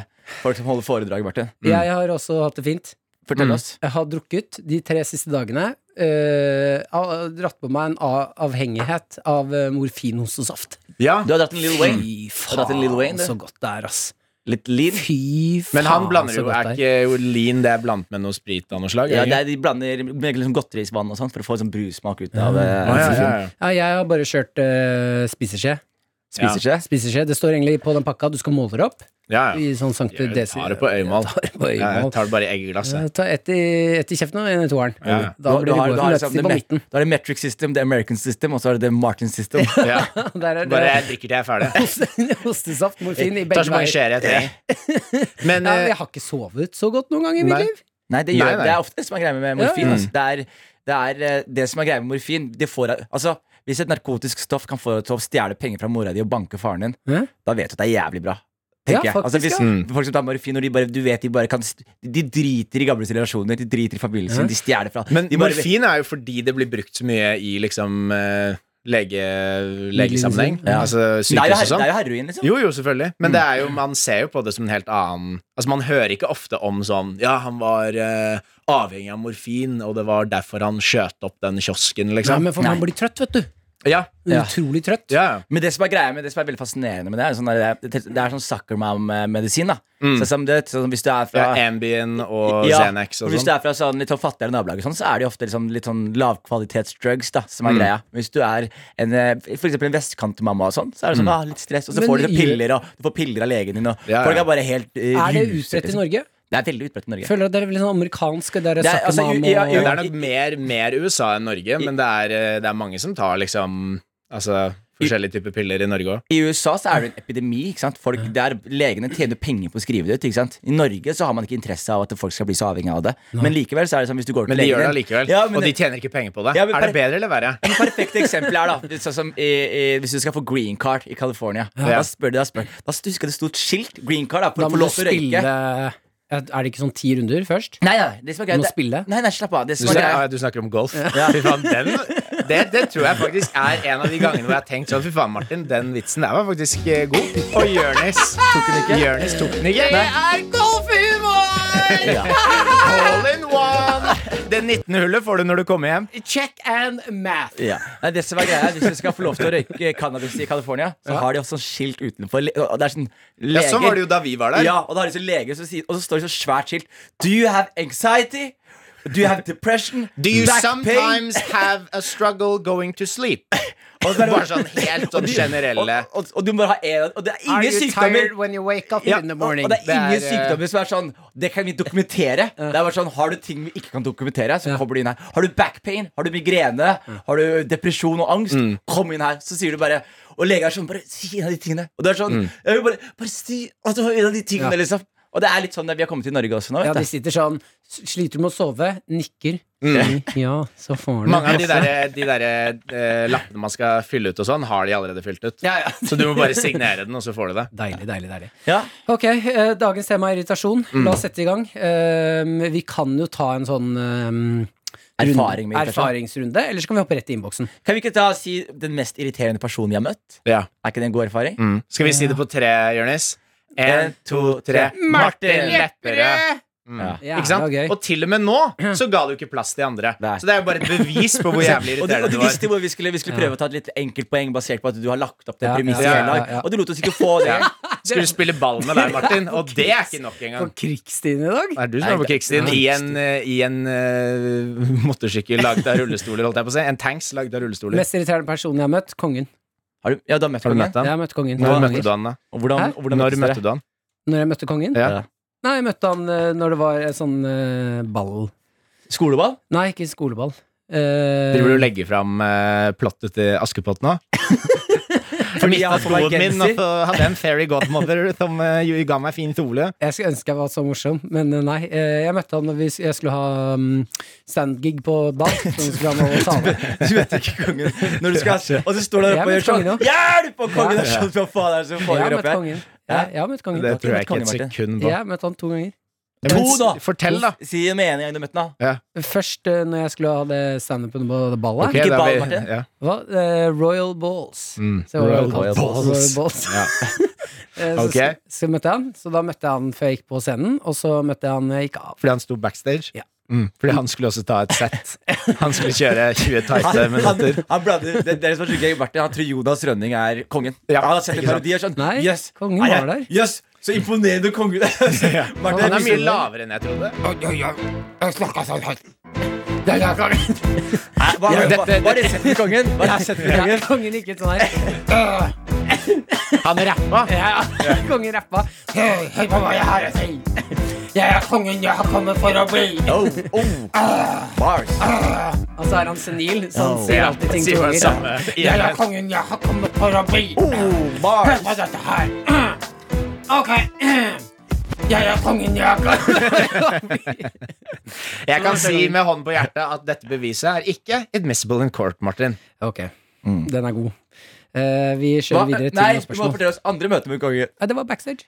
S3: folk som holder foredrag, Martin.
S4: Jeg har også hatt det fint.
S3: Fortell oss.
S4: Jeg har drukket de tre siste dagene. øh, har dratt på meg en a- avhengighet av øh, morfinhostesaft.
S2: Ja,
S3: Du har dratt en Lil Wayne.
S4: Fy
S3: Har du hatt en Lil Wayne,
S4: faen,
S3: du?
S4: så godt det er, ass.
S3: Mm. Litt lean.
S4: Fy faen,
S2: men han blander
S4: så
S2: jo
S4: godt
S2: Er
S4: det
S2: ikke lean det er blandet med noe sprit av noe slag? ikke?
S3: Ja, det er, de blander med liksom godterisvann og
S4: Mm.
S3: sånn for å få sånn brussmak ut av det.
S2: ja, ja, ja.
S4: Ja, jeg har bare kjørt øh, spiseskje.
S3: Spiser ikke.
S4: Spiser skje. Det står egentlig på den pakka. Du skal måle det opp
S2: Ja, ja.
S4: i sånn sankte
S2: Jeg
S4: desi.
S2: tar det på øyemål.
S4: Jeg tar det på
S2: Ja, Jeg
S4: øyemål.
S2: tar det bare i eggeglasset.
S4: Eh, Ta ett i, ett i kjeften og en i toeren.
S2: Ja, ja.
S4: Da
S3: Du-
S4: blir
S3: du har-
S4: det
S3: du
S4: god
S3: har liksom
S4: løpetid på
S3: det me-
S4: midten. [LAUGHS]
S3: Da er det metric system, det er American system, og så er det det Martin [LAUGHS] system.
S2: [LAUGHS] Ja.
S4: Der er det-
S2: Bare jeg drikker til jeg er ferdig.
S4: [LAUGHS] Hostesaft, morfin i
S2: Tar
S4: begge
S2: så mange skjeer jeg
S4: veier.
S2: trenger. Men
S4: Ja,
S2: eh,
S4: jeg har ikke sovet så godt noen gang i mitt
S2: Nei.
S4: liv.
S3: Nei, det, gjør,
S2: Nei, nei.
S3: det er ofte det som er greia med morfin.
S4: Ja, ja.
S3: Altså. Det, er, det er eh, det som er greia med morfin. Det får, deg- altså, hvis et narkotisk stoff kan få deg til å stjele penger fra mora di og banke faren din,
S4: Ja.
S3: da vet du at det er jævlig bra.
S4: Ja,
S3: Tenker jeg. Altså,
S4: faktisk,
S3: hvis
S4: ja.
S2: Mm.
S3: Folk som tar morfin, og de bare, du vet, de bare kan st- De driter i gamle relasjoner, de driter i familien sin,
S4: Ja.
S3: de stjeler fra
S2: Men
S3: de bare,
S2: morfin er jo fordi det blir brukt så mye i liksom eh, lege, legesammenheng.
S4: Ja.
S2: Altså
S3: Men det, er jo,
S2: sykehus og
S3: her- det
S2: sånn.
S3: er jo heroin, liksom.
S2: Jo, jo, selvfølgelig. Men
S3: Mm.
S2: det er jo, man ser jo på det som en helt annen Altså, man hører ikke ofte om sånn Ja, han var eh, avhengig av morfin, og det var derfor han skjøt opp den kiosken,
S4: Nei,
S2: liksom.
S4: men for man blir trøtt, vet du.
S2: Ja,
S3: Ja.
S4: Utrolig trøtt.
S2: ja, ja.
S3: Men det som er greia med det som er veldig fascinerende med det, er sånn, der- det, det er sånn sucker mom-medisin. da
S2: Mm.
S3: Så som det, sånn, Hvis du er fra
S2: ja Ambien og
S3: Ja,
S2: Xanax og
S3: hvis du
S2: sånn.
S3: er fra sånn litt sånn fattigere nabolag, og sånn, så er det jo ofte liksom litt sånn lavkvalitetsdrugs da, som er
S2: Mm.
S3: greia. Hvis du er en, eh, for eksempel en vestkantmamma og sånn, så er det sånn ah, litt stress, og så
S4: Men
S3: får du
S4: gjør-
S3: sånn piller, og du får piller av legen din, og
S2: Mm. Ja, ja.
S3: folk er bare helt eh,
S4: Er det
S3: ruset,
S4: utbredt i
S3: liksom.
S4: Norge?
S3: Det er veldig utbredt i Norge.
S4: Føler at dere er veldig sånn amerikanske? Dere
S3: Det er- altså,
S4: Sakkerman
S3: ja,
S2: Ja, det
S4: og
S2: er nok mer, mer USA enn Norge, men det er, eh, det er mange som tar liksom Altså forskjellige typer piller i Norge òg.
S3: I USA så er det en epidemi. ikke sant? Folk, der Legene tjener penger på å skrive det ut. ikke sant? I Norge så har man ikke interesse av at folk skal bli så avhengig av det. Men likevel så er det sånn hvis du går
S2: Men
S3: til
S2: de gjør det
S3: legen din-
S2: allikevel.
S3: Ja, men
S2: og de
S3: det-
S2: tjener ikke penger på det.
S3: Ja, men
S2: er det
S3: per-
S2: bedre eller verre?
S3: Et perfekt eksempel er da det er sånn som, eh, eh, Hvis du skal få green card i California Da spør de, da spør Da husker jeg det stod skilt Green card da For
S4: Da
S3: å
S4: må
S3: få
S4: du
S3: lov til å
S4: spille
S3: røyke Nei,
S4: Er det ikke sånn ti runder først?
S3: nei, det som er greit
S4: Du må
S3: det-
S4: spille.
S3: Nei, nei, slapp av Det
S2: Du
S3: som er
S2: snakker,
S3: greia
S2: ah, du snakker om golf. Fy faen, den, det, det tror jeg faktisk er en av de gangene hvor jeg har tenkt sånn Fy faen, Martin, den vitsen der var faktisk eh, god. Og Jonis tok den ikke. Jonis tok den ikke. Jeg er golfhumor! All in one! Det 19. hullet får du når du kommer hjem.
S4: Check and math.
S3: ja. Nei, det som er greia er, Hvis du skal få lov til å røyke cannabis i California Så har de også sånn skilt utenfor le- Og det er sånn
S2: Ja,
S3: leger
S2: sånn var det jo da vi var der.
S3: Ja, og da har de sånn leger som sier Og så står det så svært skilt Do you have anxiety? Do you have depression?
S2: [LAUGHS] Do you
S3: Back pain?
S2: sometimes have a struggle going to sleep?
S3: Og så er det
S2: [LAUGHS] Bare sånn helt sånn
S3: [LAUGHS] og,
S2: generelle
S3: og, og du må bare ha en Og det er ingen sykdommer
S4: when you wake up
S3: Ja, Og, og det er ingen
S4: Det
S2: Det er, eh,
S3: sykdommer som er sånn Det kan vi dokumentere. Det er bare sånn, Har du ting vi ikke kan dokumentere, så kommer du inn her. Har du backpain? Har du migrene? Har du depresjon og angst? Kom inn her. Så sier du bare Og legen er sånn Bare si en av de tingene. Og det er sånn jeg vil bare, bare si at du har en av de tingene,
S4: Ja.
S3: liksom. Og det er litt sånn det vi har kommet til Norge også nå.
S4: ja,
S3: Vet
S4: de
S3: du.
S4: sitter sånn s- Sliter du med å sove? Nikker. Ja, så får du
S2: Mm. Mange av de der, de der eh, lappene man skal fylle ut og sånn, har de allerede fylt ut.
S4: ja, ja.
S2: Så du må bare signere den, og så får du det.
S4: Deilig, deilig, deilig.
S3: Ja.
S4: Ok, eh, dagens tema er irritasjon. La oss sette i gang. Um, vi kan jo ta en sånn um,
S3: Erfaring med irritasjon.
S4: erfaringsrunde, eller så kan vi hoppe rett i innboksen.
S3: Kan vi ikke da si den mest irriterende personen vi har møtt?
S2: Ja.
S3: Er ikke det en god erfaring?
S2: Mm. Skal vi si det på tre, Jonis? En,
S3: En,
S2: to, tre.
S3: Martin
S2: Lepperød! Mm.
S3: Ja.
S4: Ja,
S2: ikke sant?
S4: det var gøy.
S2: Og til og med nå
S4: [CLEARS THROAT]
S2: så ga du ikke plass til de andre.
S3: Nei.
S2: Så det er jo bare et bevis på
S3: [LAUGHS]
S2: hvor jævlig
S3: Og du, og
S2: irriterende
S3: du
S2: du
S3: visste
S2: var.
S3: hvor vi skulle, vi skulle prøve å ta et litt enkelt poeng basert på at du har lagt opp det
S4: Ja,
S3: premisset
S2: ja, ja,
S3: hele dag.
S4: ja, ja.
S3: Og du lot oss ikke få det.
S2: Ja. Skulle spille ball med deg,
S4: [LAUGHS]
S2: Martin, og det er ikke nok engang.
S4: På krigsstien i dag?
S2: Det er du som er på krigsstien. I en, eh, i en eh, [LAUGHS] motorsykkel lagd av rullestoler, holdt jeg på å si. En tanks lagd av rullestoler.
S4: Mest irriterende personen jeg har møtt? Kongen.
S3: Har du, ja, du har møtt
S2: Har du
S3: kongen.
S2: møtt han?
S4: Jeg har møtt kongen.
S2: Når
S4: to
S2: møtte
S4: ganger.
S2: du han, da?
S3: Og hvordan,
S4: Hæ?
S3: og hvordan
S2: Når
S3: møttes
S2: møtte
S3: dere?
S2: du han?
S4: Når jeg møtte kongen?
S2: Ja.
S3: Ja.
S4: Nei, jeg møtte han eh, når det var eh, sånn eh, ball
S3: Skoleball? [LAUGHS]
S4: Nei, ikke skoleball. Eh,
S2: Driver du og legger fram eh, plottet til Askepott
S3: [LAUGHS]
S2: nå? For
S3: jeg har på meg genser.
S2: og så hadde jeg en fairy godmother som eh, jo ga meg fin kjole.
S4: jeg skulle ønske jeg var så morsom, men eh, nei. eh, Jeg møtte han da vi s- jeg skulle ha um, standgig på ball. Som vi skulle ha med oss
S3: [LAUGHS]
S4: alle.
S3: Du vet ikke kongen. Når du skal, og så står du der
S4: Jeg
S3: oppe og
S4: møtte
S3: gjør sånn.
S4: kongen også.
S3: Hjelp! Og kongen
S4: Ja.
S3: er sånn, hva faen er det som
S4: Jeg har
S3: foregår
S4: møtt
S3: oppe her?
S4: kongen. Jeg, jeg har møtt kongen.
S2: Det
S4: to
S2: tror jeg
S3: møtt
S2: ikke et
S3: kongen, Martin.
S2: sekund
S4: ganger.
S2: på.
S4: Jeg har møtt han to ganger.
S2: Ja, men
S3: To, da.
S2: s- Fortell, da.
S3: Si det med en gang du møtte han.
S2: Ja.
S4: Først eh, når jeg skulle ha det standupen på det ballet.
S2: Ok,
S3: Ikke
S2: da
S3: ball,
S2: vi-
S3: Martin.
S2: ja.
S4: Hva? Eh, Royal Balls.
S2: Mm.
S4: Så jeg var
S2: Royal
S4: kalt
S2: Balls.
S4: Royal Balls.
S2: Ja.
S4: [LAUGHS] Eh, så,
S2: Ok.
S4: så, så møtte jeg han. Så da møtte jeg han før jeg gikk på scenen, og så møtte jeg han når jeg gikk av.
S2: Fordi han sto backstage?
S4: Ja.
S2: Mm. Fordi han skulle også ta et
S4: [LAUGHS]
S2: sett. Han skulle kjøre 20 tighte
S3: Han, han,
S2: minutter.
S3: han blander, det, det er det som er så gøy, Martin. Han tror Jonas Rønning er kongen.
S2: Ja,
S3: han har sett en
S2: ikke sant.
S3: parodi og sånn.
S4: Nei,
S3: yes,
S4: kongen
S3: er jeg-
S4: var der.
S3: Yes, så imponerende [LAUGHS] konge. Martin,
S2: Han er mye
S3: liksom-
S2: lavere enn jeg trodde.
S5: Jeg snakker sånn høyt.
S3: Hva
S2: Ja, dette-
S3: hva- hva har dere sett med kongen? Hva har dere sett med
S4: Ja,
S3: kongen? [LAUGHS]
S4: kongen gikk ut sånn her.
S2: Han rappa.
S4: Ja, kongen rappa.
S5: Hør, hør på hva jeg har å si. Jeg er kongen jeg har kommet for å bli.
S3: Oh, oh. Bars.
S4: Og så er han senil, så han
S3: Oh.
S4: sier alltid ting to
S2: Sier det
S4: ganger.
S2: samme.
S5: Jeg er kongen jeg har kommet for å bli.
S3: Oh,
S5: Hør
S3: bars.
S5: på dette her. Ok. Jeg er kongen jeg har kommet
S2: Jeg kan si med hånden på hjertet at dette beviset er ikke admissible in court, Martin.
S4: Ok,
S2: Mm.
S4: den er god. Eh, vi
S3: Hva?
S4: kjører videre til
S3: Nei,
S4: noen
S3: du må
S4: spørsmål.
S3: fortelle oss andre møte med kongen.
S4: Ja, det var backstage.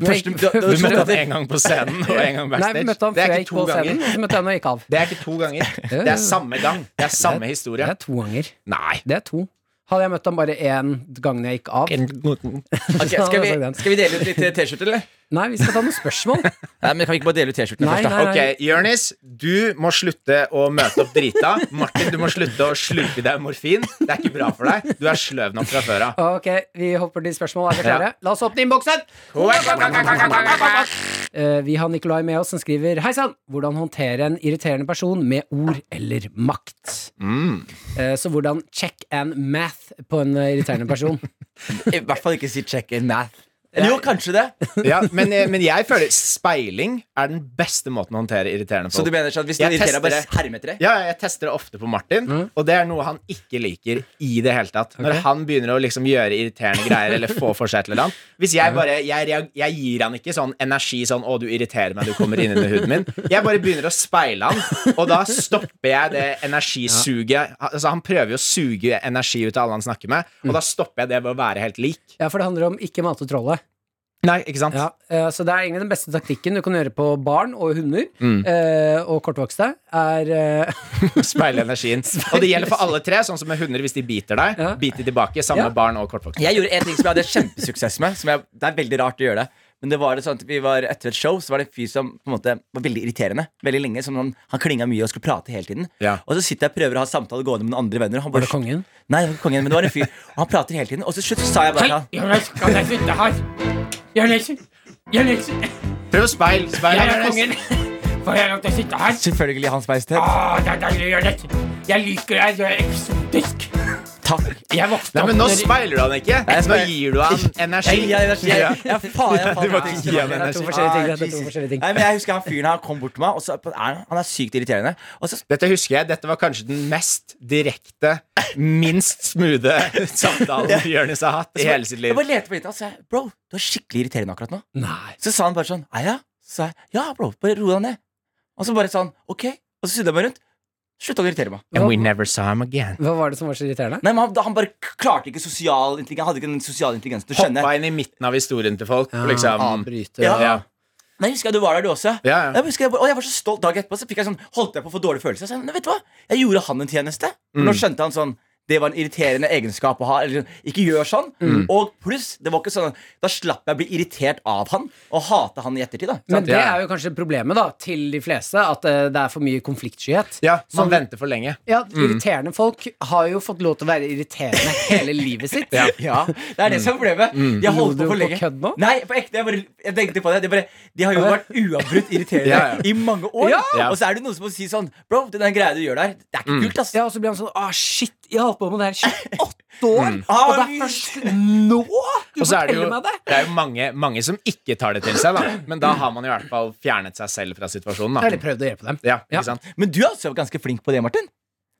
S3: Første-
S4: Nei,
S3: du- du- [LAUGHS]
S2: Du møtte
S4: første-
S2: han én gang på scenen og én gang
S4: Nei, vi
S2: backstage.
S4: møtte
S2: Det er
S4: han før jeg
S2: ikke
S4: gikk
S2: to
S4: på
S2: ganger.
S4: scenen. og Så møtte jeg han og gikk av.
S2: Det er ikke to ganger. Det er samme gang. Det er samme
S4: Det
S2: historie.
S4: er to ganger.
S2: Nei.
S4: Det er to. Hadde jeg møtt ham bare én gang når jeg gikk av
S3: Ok, skal, [LAUGHS] vi, skal vi dele ut litt eh, T-skjorte, eller?
S4: Nei, vi skal ta noen
S3: [LAUGHS]
S4: spørsmål.
S3: Nei, men Kan vi ikke bare dele ut T-skjortene først?
S4: Nei,
S3: da?
S4: nei,
S2: Ok, Jørnis, du må slutte å møte opp drita. Martin, du må slutte å slurpe i deg morfin. Det er ikke bra for deg. Du er sløv nok fra før av.
S4: Ok, vi hopper til spørsmål. Er dere klare? La oss åpne innboksen! Eh, Vi har Nikolai med oss som skriver Hei sann! Hvordan håndtere en irriterende person med ord eller makt? Eh, Så hvordan check and math på en eh, irriterende person?
S3: I hvert fall ikke si check in math. Eller jo, kanskje det.
S2: Ja, men, eh, men jeg føler speiling er den beste måten å håndtere irriterende folk
S3: Så du mener sånn at hvis du
S2: Jeg
S3: irriterer,
S2: tester
S3: bare
S2: det.
S3: herm etter det?
S2: Ja, ja, jeg tester det ofte på Martin, og det er noe han ikke liker i det hele tatt. Når han begynner å liksom gjøre irriterende greier eller få for seg et eller annet. Hvis jeg bare jeg, reag- jeg gir han ikke sånn energi sånn 'Å, du irriterer meg, du kommer inn under huden min'. Jeg bare begynner å speile han, og da stopper jeg det energisuget. Altså, han prøver jo å suge energi ut av alle han snakker med, og da stopper jeg det ved å være helt lik.
S4: Ja, for det handler om ikke mate trollet.
S2: Nei, ikke sant?
S4: Ja, eh, så det er egentlig den beste taktikken du kan gjøre på barn og hunder eh, og kortvokste, er eh,
S2: [LAUGHS]
S4: [LAUGHS]
S2: Speile energien. Og det gjelder for alle tre, sånn som med hunder hvis de biter deg.
S4: Ja.
S2: Biter tilbake, samme
S4: Ja.
S2: barn og kortvoksen.
S3: Jeg gjorde en ting som jeg hadde kjempesuksess med. Som jeg, det er veldig rart å gjøre det. Men det var det sånn at vi var etter et show, så var det en fyr som på en måte var veldig irriterende. Veldig lenge, som han, han klinga mye og skulle prate hele tiden.
S2: Ja.
S3: Og så sitter jeg og prøver å ha samtale gående med noen andre venner. Og han
S4: Var
S3: bare,
S4: det kongen?
S3: Nei, det var ikke kongen, men det var en fyr. Og han prater hele tiden. Og så slutt sa jeg bare sånn, til han.
S5: Jonas, kan jeg slutte her? Jonas, Jonas,
S2: Prøv speil. speil.
S5: jeg er kongen. Får jeg lov til å sitte her?
S3: Selvfølgelig Hans Majestet.
S5: Åh, det er deilig, Jonas. Jeg liker deg, du er eksotisk.
S3: Takk.
S5: Jeg vokste
S2: Nei,
S5: opp
S2: men Nå
S5: når-
S2: speiler du han ikke.
S3: jeg
S2: Nå
S3: speiler-
S2: gir du han energi.
S3: Jeg, jeg, jeg, jeg, jeg, faen, jeg,
S2: Du må
S3: faen,
S2: ikke gi han
S4: Det er to
S2: energi.
S4: forskjellige ting.
S3: Ah,
S4: Det er to
S3: Jesus.
S4: forskjellige ting.
S3: Nei, men jeg husker han fyren her kom bort til meg, og så er han, han er sykt irriterende. Og så
S2: Dette husker jeg, dette var kanskje den mest direkte, minst smoothe samtalen Jonis har hatt i hele sitt
S3: Jeg
S2: liv.
S3: bare lette på internett og sa Bro, du er skikkelig irriterende akkurat nå.
S4: Nei.
S3: Så sa han bare sånn Nei, ja? Så sa jeg ja, bro, bare ro deg ned. Og så bare sa han ok. Og så snudde jeg meg rundt. Slutta å irritere meg.
S2: And we never saw him again.
S4: Hva var det som var så irriterende?
S3: Nei, men han, han bare k- klarte ikke sosial intelligens. Han hadde ikke den sosiale intelligensen til å skjønne.
S2: Hoppa inn i midten av historien til folk.
S4: Ja,
S2: Liksom.
S4: Avbryte
S3: Ja.
S2: Ja.
S3: Men jeg husker jeg du var der, du også.
S2: Ja, ja.
S3: Jeg husker jeg bare, og jeg var så stolt dagen etterpå, så fikk jeg sånn, holdt jeg på å få dårlig følelse. Så jeg, sa, «Nei, vet du hva? jeg gjorde han en tjeneste. For
S4: Mm.
S3: Nå skjønte han sånn det var en irriterende egenskap å ha. Eller, sånn, ikke gjør sånn.
S4: Mm.
S3: Og pluss, det var ikke sånn da slapp jeg å bli irritert av han og hate han i ettertid. da
S4: Men
S3: Sant?
S4: det
S2: Ja.
S4: er jo kanskje problemet da til de fleste, at eh, det er for mye konfliktskyhet.
S2: ja, man
S4: Som-
S2: Mm. venter for lenge.
S4: Ja, Irriterende folk har jo fått lov til å være
S2: [LAUGHS]
S4: irriterende hele livet sitt.
S3: Ja, det er det som er problemet. De har holdt på
S4: Lo Mm. du
S3: for
S4: på
S3: lenge.
S4: kødd nå?
S3: Nei, på ekte. Jeg, bare, jeg tenkte på det. De, bare, de har jo vært uavbrutt irriterende
S2: Ja, ja.
S3: i mange år.
S4: [LAUGHS] Ja. Mm.
S2: Ja.
S3: Og så er det noen som må si sånn Bro, det der greia du gjør der, det er ikke kult, ass.
S4: Ja, Og så blir han sånn Å, shit, jeg har holdt på med
S2: [LAUGHS]
S4: det her i 28 år, og det er først nå du
S2: Mm. Ah, Og så er det
S4: forteller
S2: jo,
S4: meg det!
S2: det er jo mange, mange som ikke tar det til seg, da. Men da har man i hvert fall fjernet seg selv fra situasjonen.
S4: Jeg har
S2: Da.
S4: prøvd å hjelpe dem.
S2: Ja,
S4: Ja.
S2: ikke sant?
S3: Men du er altså ganske flink på det, Martin.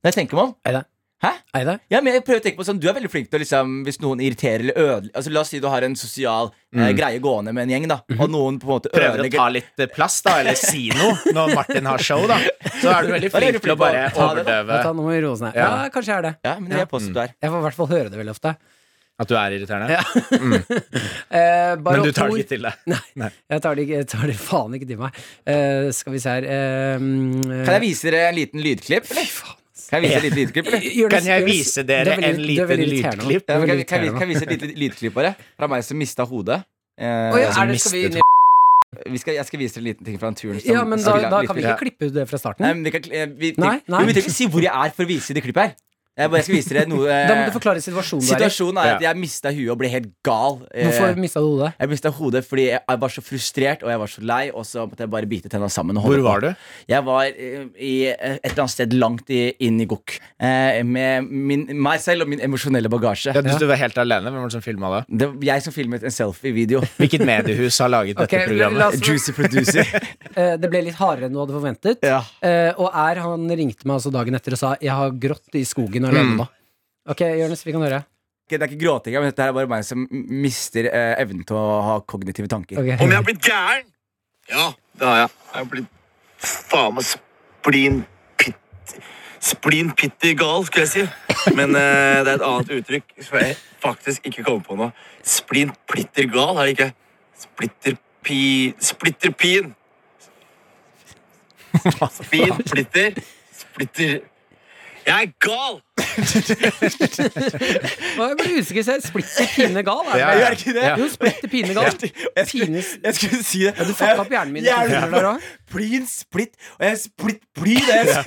S3: Når jeg tenker meg om.
S4: Eide.
S3: Hæ?
S4: Eide?
S3: Ja, men jeg prøver å tenke på sånn Du er veldig flink til å liksom Hvis noen irriterer eller ødelegger Altså La oss si du har en sosial eh, greie gående med en gjeng, da og noen på en måte
S2: Mm. Mhm. prøver å
S3: ødelegger
S2: ta litt eh, plass, da, eller si noe [LAUGHS] når Martin har show, da, så er du veldig flink til å bare
S3: Ta det, da.
S2: overdøve
S4: Vent da, Nå må vi roe oss ned. Ja,
S2: Ja. Mm.
S4: kanskje jeg er det.
S3: Ja, men det vil jeg påstå du er.
S4: Jeg får i hvert fall høre det veldig ofte.
S2: at du er irriterende.
S4: Eh, bare
S2: Men du tar
S4: ord-
S2: det ikke til deg.
S4: Nei, jeg tar det, ikke- jeg tar det faen ikke til meg. Eh, skal vi se her eh,
S3: Kan jeg vise dere en liten lydklipp, eller? Kan jeg vise et lite lydklipp, eller?
S2: [LAUGHS] Kan jeg vise dere en liten lydklipp?
S3: Ja, men kan, vi- kan, vi- kan jeg vise et lite lydklipp bare? Fra meg som mista hodet. Eh,
S2: som
S4: er det, skal vi
S2: mistet
S4: inn i
S3: vi skal, jeg skal vise dere en liten ting fra en tur. som-
S4: Ja, men
S3: som
S4: da,
S3: vil ha
S4: da
S3: litt
S4: kan vi
S3: lyd.
S4: ikke klippe ut det fra starten.
S3: Nei, men vi kan, eh, vi,
S4: Nei,
S3: nei,
S4: nei.
S3: Vi trenger ikke si hvor jeg er for å vise det klippet her. Jeg, bare, jeg skal vise dere noe eh,
S4: [LAUGHS] Da må du forklare situasjonen du er i.
S3: Situasjonen er at jeg mista huet og ble helt gal. Eh,
S4: Hvorfor mista du hodet?
S3: Jeg mista hodet fordi jeg- jeg var så frustrert og jeg var så lei, og så måtte jeg bare bite tenna sammen. Og
S2: Hvor
S3: holde på.
S2: var du?
S3: Jeg var eh, i eh, et eller annet sted langt i, inn i gokk. Eh, med min, meg selv og min emosjonelle bagasje.
S2: Jeg synes du var helt alene. Hvem var det som filma det?
S3: Det var jeg som filmet en
S2: [LAUGHS]
S3: selfie-video.
S2: Hvilket mediehus har laget
S4: Ok,
S2: dette
S4: la- la
S2: programmet?
S4: oss-
S3: Juicy producer. [LAUGHS]
S4: Eh, Det ble litt hardere enn du hadde forventet.
S3: ja.
S4: Eh, og R han ringte meg altså dagen etter og sa Jeg har grått i skogen
S3: Mm.
S4: alene nå. Ok, Jonis, vi kan høre.
S3: Ok, Det er ikke gråting, men dette er bare meg som mister eh, evnen til å ha kognitive tanker.
S4: Ok.
S6: Om jeg har blitt gæren? Ja, det har jeg. Jeg har blitt faen meg splin pitt Splin pitti gal, skulle jeg si. Men eh, det er et annet uttrykk som jeg faktisk ikke kommer på nå. Splin plitter gal, er det ikke? Splitter pi... Splitter pin. Spin plitter. Splitter Jeg er gal!
S4: Å, Jeg ble usikker. så jeg Splitter pine gal? Er det
S2: Ja,
S4: det?
S2: ja.
S3: Gjør ikke det?
S2: Ja.
S4: Jo, splitter pine gal.
S3: Jeg skulle,
S4: Pines-
S3: jeg skulle si det.
S4: du fucka opp hjernen min i
S3: Hjernen-
S4: to timer der også.
S3: Plin, splitt, og jeg splitt, plin. og Jeg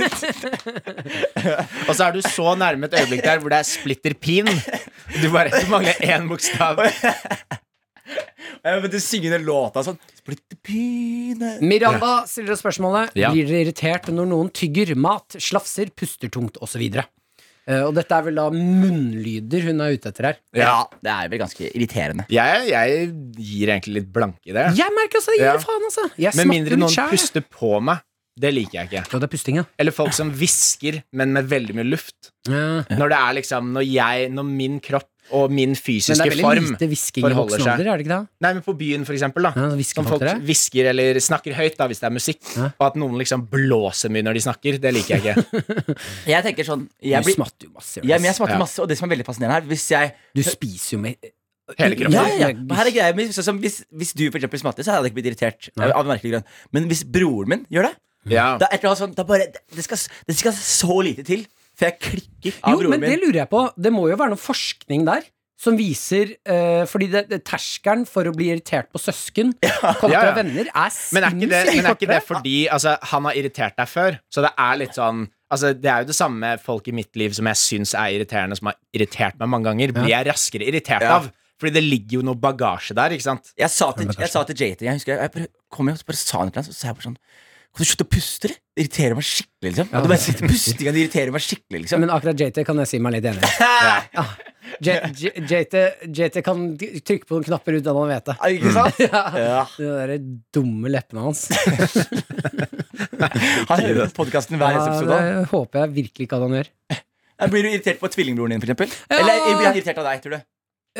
S2: Og så er du så nærme et øyeblikk der hvor det er splitter pin. Du bare du mangler én bokstav.
S3: [LAUGHS] Jeg begynte å synge den låta sånn Splitter pine
S4: Miranda stiller oss spørsmålet
S2: Ja.
S4: Blir dere irritert når noen tygger mat, slafser, puster tungt osv.? Eh, Og dette er vel da munnlyder hun er ute etter her.
S3: Ja, det er vel ganske irriterende.
S2: Jeg, jeg gir egentlig litt blanke i det.
S4: Jeg merker altså, gi
S2: Ja.
S4: faen, altså! Jeg
S2: Med mindre
S4: smatter
S2: noen
S4: litt sjæl.
S2: puster på meg. Det liker jeg ikke.
S4: Ja, det er pusting, ja.
S2: Eller folk som hvisker, men med veldig mye luft. Når det er liksom Når jeg Når min kropp og min
S4: Men det
S2: fysiske
S4: er veldig
S2: form
S4: lite hvisking i
S2: forholder
S4: voksen
S2: seg.
S4: alder, er det ikke det?
S2: Nei, men på byen, for eksempel, da.
S4: Ja, så hvisker
S2: som folk
S4: folk til deg?
S2: hvisker eller snakker høyt, da, hvis det er musikk.
S4: Ja.
S2: Og at noen liksom blåser mye når de snakker. Det liker jeg
S4: [LAUGHS]
S2: ikke.
S3: Jeg tenker sånn
S4: Du
S3: Jeg, blir,
S4: smatter jo masse.
S3: ja, men jeg
S4: Jonas.
S3: smaker
S2: Ja.
S3: masse, og det som er veldig fascinerende her Hvis jeg
S4: Du spiser jo med
S2: Hele
S3: ja,
S2: kroppen.
S3: ja, ja. men Her er greia, men sånn som hvis, hvis du for eksempel smatter, så hadde jeg ikke blitt irritert.
S4: Nei.
S3: Av en merkelig grunn Men hvis broren min gjør det,
S2: Ja.
S3: da er det, sånn, da bare, det, skal, det skal så lite til. For jeg klikker av
S4: Jo, men
S3: broren
S4: det
S3: min.
S4: lurer jeg på. Det må jo være noe forskning der. Som viser eh, Fordi det, det, terskelen for å bli irritert på søsken kontra
S2: Ja, ja.
S4: venner er
S2: Men er ikke det, men
S4: sinnssykt
S2: er ikke det
S4: kortere.
S2: fordi altså, han har irritert deg før? Så det er litt sånn Altså, Det er jo det samme folk i mitt liv som jeg syns er irriterende, som har irritert meg mange ganger, blir jeg raskere irritert
S3: Ja.
S2: av. Fordi det ligger jo noe bagasje der, ikke sant?
S3: Jeg sa til, jeg sa til JT Jeg husker jeg, jeg bare, kom hjem og så bare sa han til ham, så sa jeg bare sånn Kan du slutte å puste, eller? Det irriterer meg skikkelig, liksom. Og du bare sitter pustinga, det irriterer meg skikkelig,
S4: Ja,
S3: liksom.
S4: Men akkurat JT kan jeg si meg litt enig i. Ja. Ah. J- J- JT, JT kan trykke på noen knapper uten at han vet det.
S3: Ja, Ikke
S4: [LAUGHS]
S3: sant? Ja.
S4: De derre dumme leppene hans.
S3: Han hører på podkasten hver eneste
S4: Ja,
S3: episode.
S4: det håper jeg virkelig ikke at han gjør.
S3: Ja, Eh, Blir du irritert på tvillingbroren din, for eksempel?
S4: Ja.
S3: Eller blir han irritert av deg, tror du?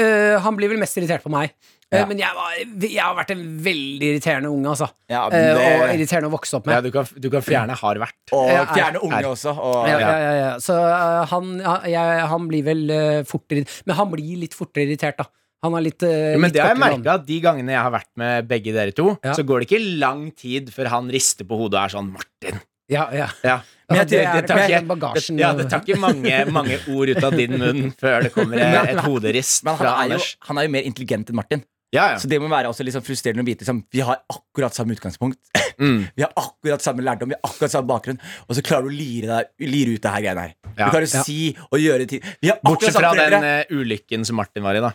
S4: Eh, han blir vel mest irritert på meg. Eh,
S3: Ja.
S4: Men jeg, var, jeg har vært en veldig irriterende unge, altså.
S3: Ja,
S4: Eh, og
S3: det-
S4: irriterende å vokse opp med.
S2: Ja, du kan, du kan fjerne 'har vært'.
S3: Og
S4: Ja, er-
S3: fjerne unge
S2: er-
S3: også. Og,
S4: ja,
S3: ja.
S4: ja, ja, ja. Så eh, han, ja, jeg, han blir vel eh, fortere Men han blir litt fortere irritert, da. Han er litt, eh,
S2: Men
S4: litt
S2: det har jeg
S4: kortere vann.
S2: merket at de gangene jeg har vært med begge dere to,
S4: Ja.
S2: så går det ikke lang tid før han rister på hodet og er sånn 'Martin'.
S4: Ja, ja.
S2: Ja.
S4: Men jeg
S2: det,
S4: tror-
S2: det, tar ikke,
S4: jeg- den bagasjen-
S2: det, ja, det tar ikke mange, mange ord ut av din munn før det kommer et hoderist
S3: Men han
S2: fra
S3: er, jo,
S2: Anders.
S3: han er jo mer intelligent enn Martin,
S2: Ja, ja.
S3: så det må være også litt sånn frustrerende å vite liksom, Vi har akkurat samme utgangspunkt, [CLEARS THROAT]
S2: Mm.
S3: vi har akkurat samme lærdom, vi har akkurat samme bakgrunn, og så klarer du å lire, deg, lire ut det her greiene her.
S2: Ja.
S3: Du klarer å
S4: Ja.
S3: si og gjøre ting Vi har akkurat
S2: Bortsett
S3: samme
S2: fra den
S3: foreldre.
S2: eh, ulykken som Martin var i, da.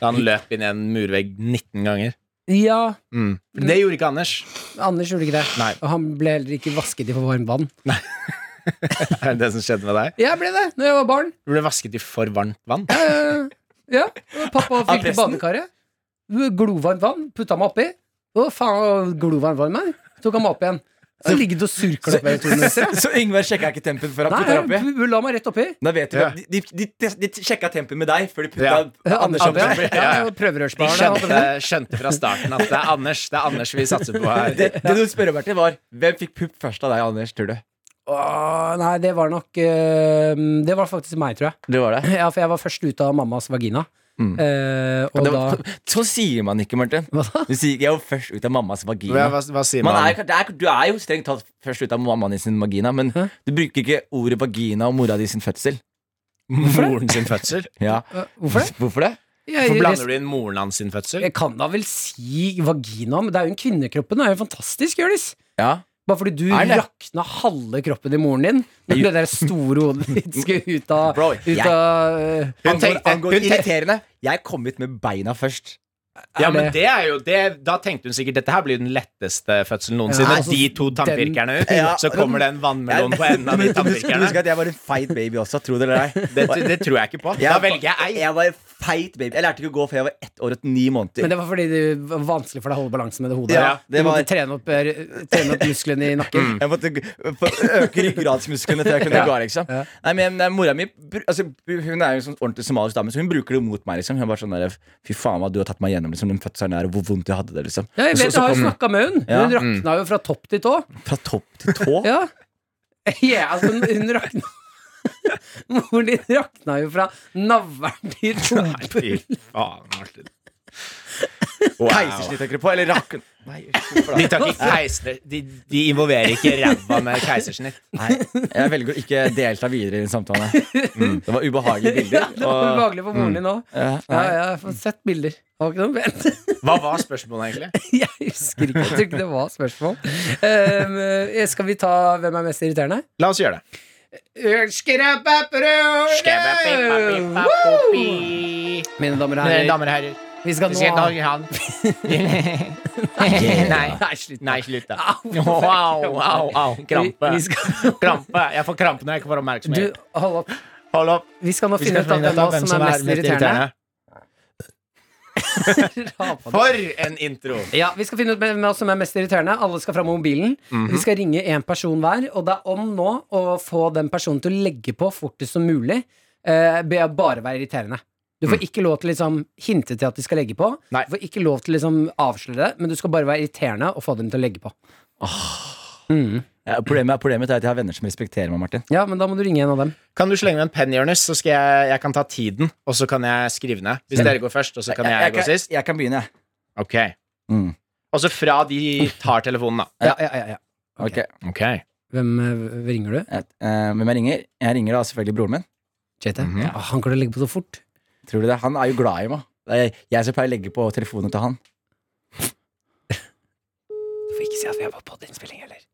S2: Da han løp inn i en murvegg 19 ganger.
S4: ja,
S2: Mm. Det gjorde ikke Anders.
S4: Anders gjorde ikke det.
S2: Nei.
S4: Og han ble heller ikke vasket i for varmt vann.
S2: Er det det som skjedde med deg?
S4: Jeg ble det når jeg var barn.
S2: Du ble vasket i for varmt vann.
S4: Eh, ja, og Pappa fylte
S3: presten?
S4: badekaret. Glovarmt vann. Putta meg oppi. Å, faen, glovarmt vann meg. Tok han meg opp igjen. Så ligger du og surkler opp i to minutter.
S3: [LAUGHS] Så, så Yngvar sjekka ikke tempen før han
S4: eh, Nei,
S3: putta det oppi?
S4: jeg la meg rett oppi.
S3: Da vet du
S2: Ja.
S3: at de, de, de, de sjekka tempen med deg før de putta
S2: Ja.
S3: Anders
S4: Anders
S3: oppi.
S4: ja, ja, ja,
S2: De
S4: prøverørsbarn. ja,
S2: skjønte, skjønte fra starten at det er Anders Det er Anders vi satser på her.
S3: Det, det du spør om, Martin, var hvem fikk pupp først av deg, Anders, tror du?
S4: Åh, nei, det var nok eh, Det var faktisk meg, tror jeg.
S3: Det var det.
S4: Ja, For jeg var først ut av mammas vagina.
S3: Mm.
S4: Eh, og
S3: det
S4: da
S3: [LAUGHS] var, så Sånn sier man ikke, Martin.
S4: Hva da?
S3: Du sier ikke 'jeg var først ut av mammas
S2: Hva,
S3: vagina'.
S2: hva, hva sier
S3: Man
S2: man?
S3: er, det er, du er jo strengt tatt først ut av mammaen din sin vagina, men
S4: Hæ?
S3: du bruker ikke ordet 'vagina' og mora di sin fødsel.
S2: Moren sin fødsel?
S3: Ja.
S4: Eh, Hvorfor det?
S3: Hvorfor det?
S4: Jeg,
S2: Hvorfor blander
S4: jeg,
S2: du inn moren hans sin fødsel?
S4: jeg kan da vel si vagina, men det er jo en kvinnekroppen. Det er jo fantastisk, Jonis.
S3: Ja.
S4: Bare fordi du
S3: Er det?
S4: rakna halve kroppen til moren din når det der store hodet ditt
S3: [LAUGHS]
S4: skulle ut av,
S3: Bro,
S4: ut
S3: jeg-
S4: av eh,
S3: Hun
S2: tenkte-
S3: angår
S2: hun tenkte-
S3: irriterende. Jeg kom hit med beina først.
S2: Ja,
S4: Er
S2: men
S4: det-
S2: det er jo det, Da tenkte hun sikkert dette her blir den letteste fødselen noensinne.
S4: Ja, altså,
S2: de to tannpirkerne ut,
S3: [LAUGHS] Ja.
S2: så kommer det en vannmelon på enden
S3: [LAUGHS]
S2: av de
S3: Du skal huske
S2: tannpirkerne.
S3: at jeg var en feit baby også, tro det eller ei.
S2: Det, det tror jeg ikke på. Da velger jeg ei.
S3: Jeg var en feit baby. Jeg lærte ikke å gå før jeg var ett år og ni måneder.
S4: Men det var fordi det var vanskelig for deg å holde balansen med det hodet.
S3: Ja, det
S4: du måtte
S3: var- Mm.
S4: trene, opp, eh, trene opp musklene
S3: [LAUGHS]
S4: i nakken.
S3: Jeg måtte g- få øke ryggradsmusklene til jeg
S4: [LAUGHS]
S3: kunne gå. liksom Nei, men eh, Mora mi br- altså, Hun er jo en sånn ordentlig somalisk dame, så hun bruker det mot meg. liksom Hun er bare sånn der, Fy faen, hva du har tatt meg gjennom liksom, den fødselen der, og hvor vondt jeg hadde det. liksom
S4: Ja, jeg
S3: Og så-
S4: vet,
S3: så
S4: jeg har jo
S3: kom-
S4: snakka med hun.
S3: Ja.
S4: Hun rakna jo fra topp til tå.
S3: Fra topp til tå?
S4: Ja, [LAUGHS] ja altså, hun- hun rakna [LAUGHS] Moren din rakna jo fra navlen til
S3: [LAUGHS]
S4: rumpa.
S2: Fy faen, Martin.
S3: Keisersnitt tenker du på? Eller rakken? Nei,
S2: De tar ikke keiser... De, de involverer ikke ræva med keisersnitt.
S3: Nei, jeg velger å ikke delta videre i den samtalen. Mm. Det var
S4: [LAUGHS]
S3: ubehagelige
S4: Ja,
S3: bilder.
S4: det var
S3: og-
S4: ubehagelig for moren din òg.
S3: Ja,
S4: Ja,
S3: nei.
S4: jeg har sett bilder. Det var ikke noe bedre. [LAUGHS]
S2: Hva var spørsmålet, egentlig?
S4: Jeg husker ikke. Jeg tror ikke det var spørsmål. Eh, skal vi ta Hvem er mest irriterende?
S2: La oss gjøre det.
S4: Mine damer og
S2: Mine
S4: herrer,
S2: damer og herrer.
S4: vi skal
S2: Vi skal
S4: nå ha
S2: ta han. [LAUGHS] Nei,
S4: [LAUGHS] Nei, slutt.
S2: nei, slutt, da.
S4: Au,
S2: Au, au, au. Krampe.
S4: Vi, vi skal,
S2: Krampe. Jeg får krampe når jeg ikke får
S4: du,
S2: oppmerksomhet.
S4: hold opp.
S2: Hold opp.
S4: Vi skal nå
S2: Vi
S4: finne
S2: skal
S4: ut
S2: finne ut av
S4: av hvem av oss som er mest irriterende. [LAUGHS]
S2: For en intro!
S4: Ja, Vi skal finne ut hvem av oss som er mest irriterende. Alle skal fram mobilen. Vi skal ringe én person hver, og det er om nå å få den personen til å legge på fortest som mulig. Eh, Be å bare være irriterende. Du
S3: Mm.
S4: får ikke lov til å liksom, hinte til at de skal legge på.
S2: Nei.
S4: Du får ikke lov til å liksom, avsløre det, men du skal bare være irriterende og få dem til å legge på.
S3: Ja, problemet, problemet er at jeg har venner som respekterer meg, Martin.
S4: Ja, men da må du ringe en av dem.
S2: Kan du slenge med en penn, Jonis, så skal jeg, jeg kan ta tiden, og så kan jeg skrive ned. Hvis dere går først, og så kan Mm. jeg, gå
S3: kan,
S2: sist.
S3: jeg kan begynne, jeg.
S2: Ok.
S3: Mm.
S2: Og så fra de tar telefonen, da.
S4: Ja, ja, ja, ja.
S3: Ok.
S2: Ok.
S4: Hvem eh, ringer du?
S3: Et, eh, hvem jeg ringer? Jeg ringer da selvfølgelig broren min.
S4: JT?
S3: Mhm.
S4: ja, han kan du legge på så fort.
S3: Tror du det? Han er jo glad i meg. Det er jeg som pleier å legge på telefonen til han.
S4: Du får ikke si at vi er på podiinnspilling heller.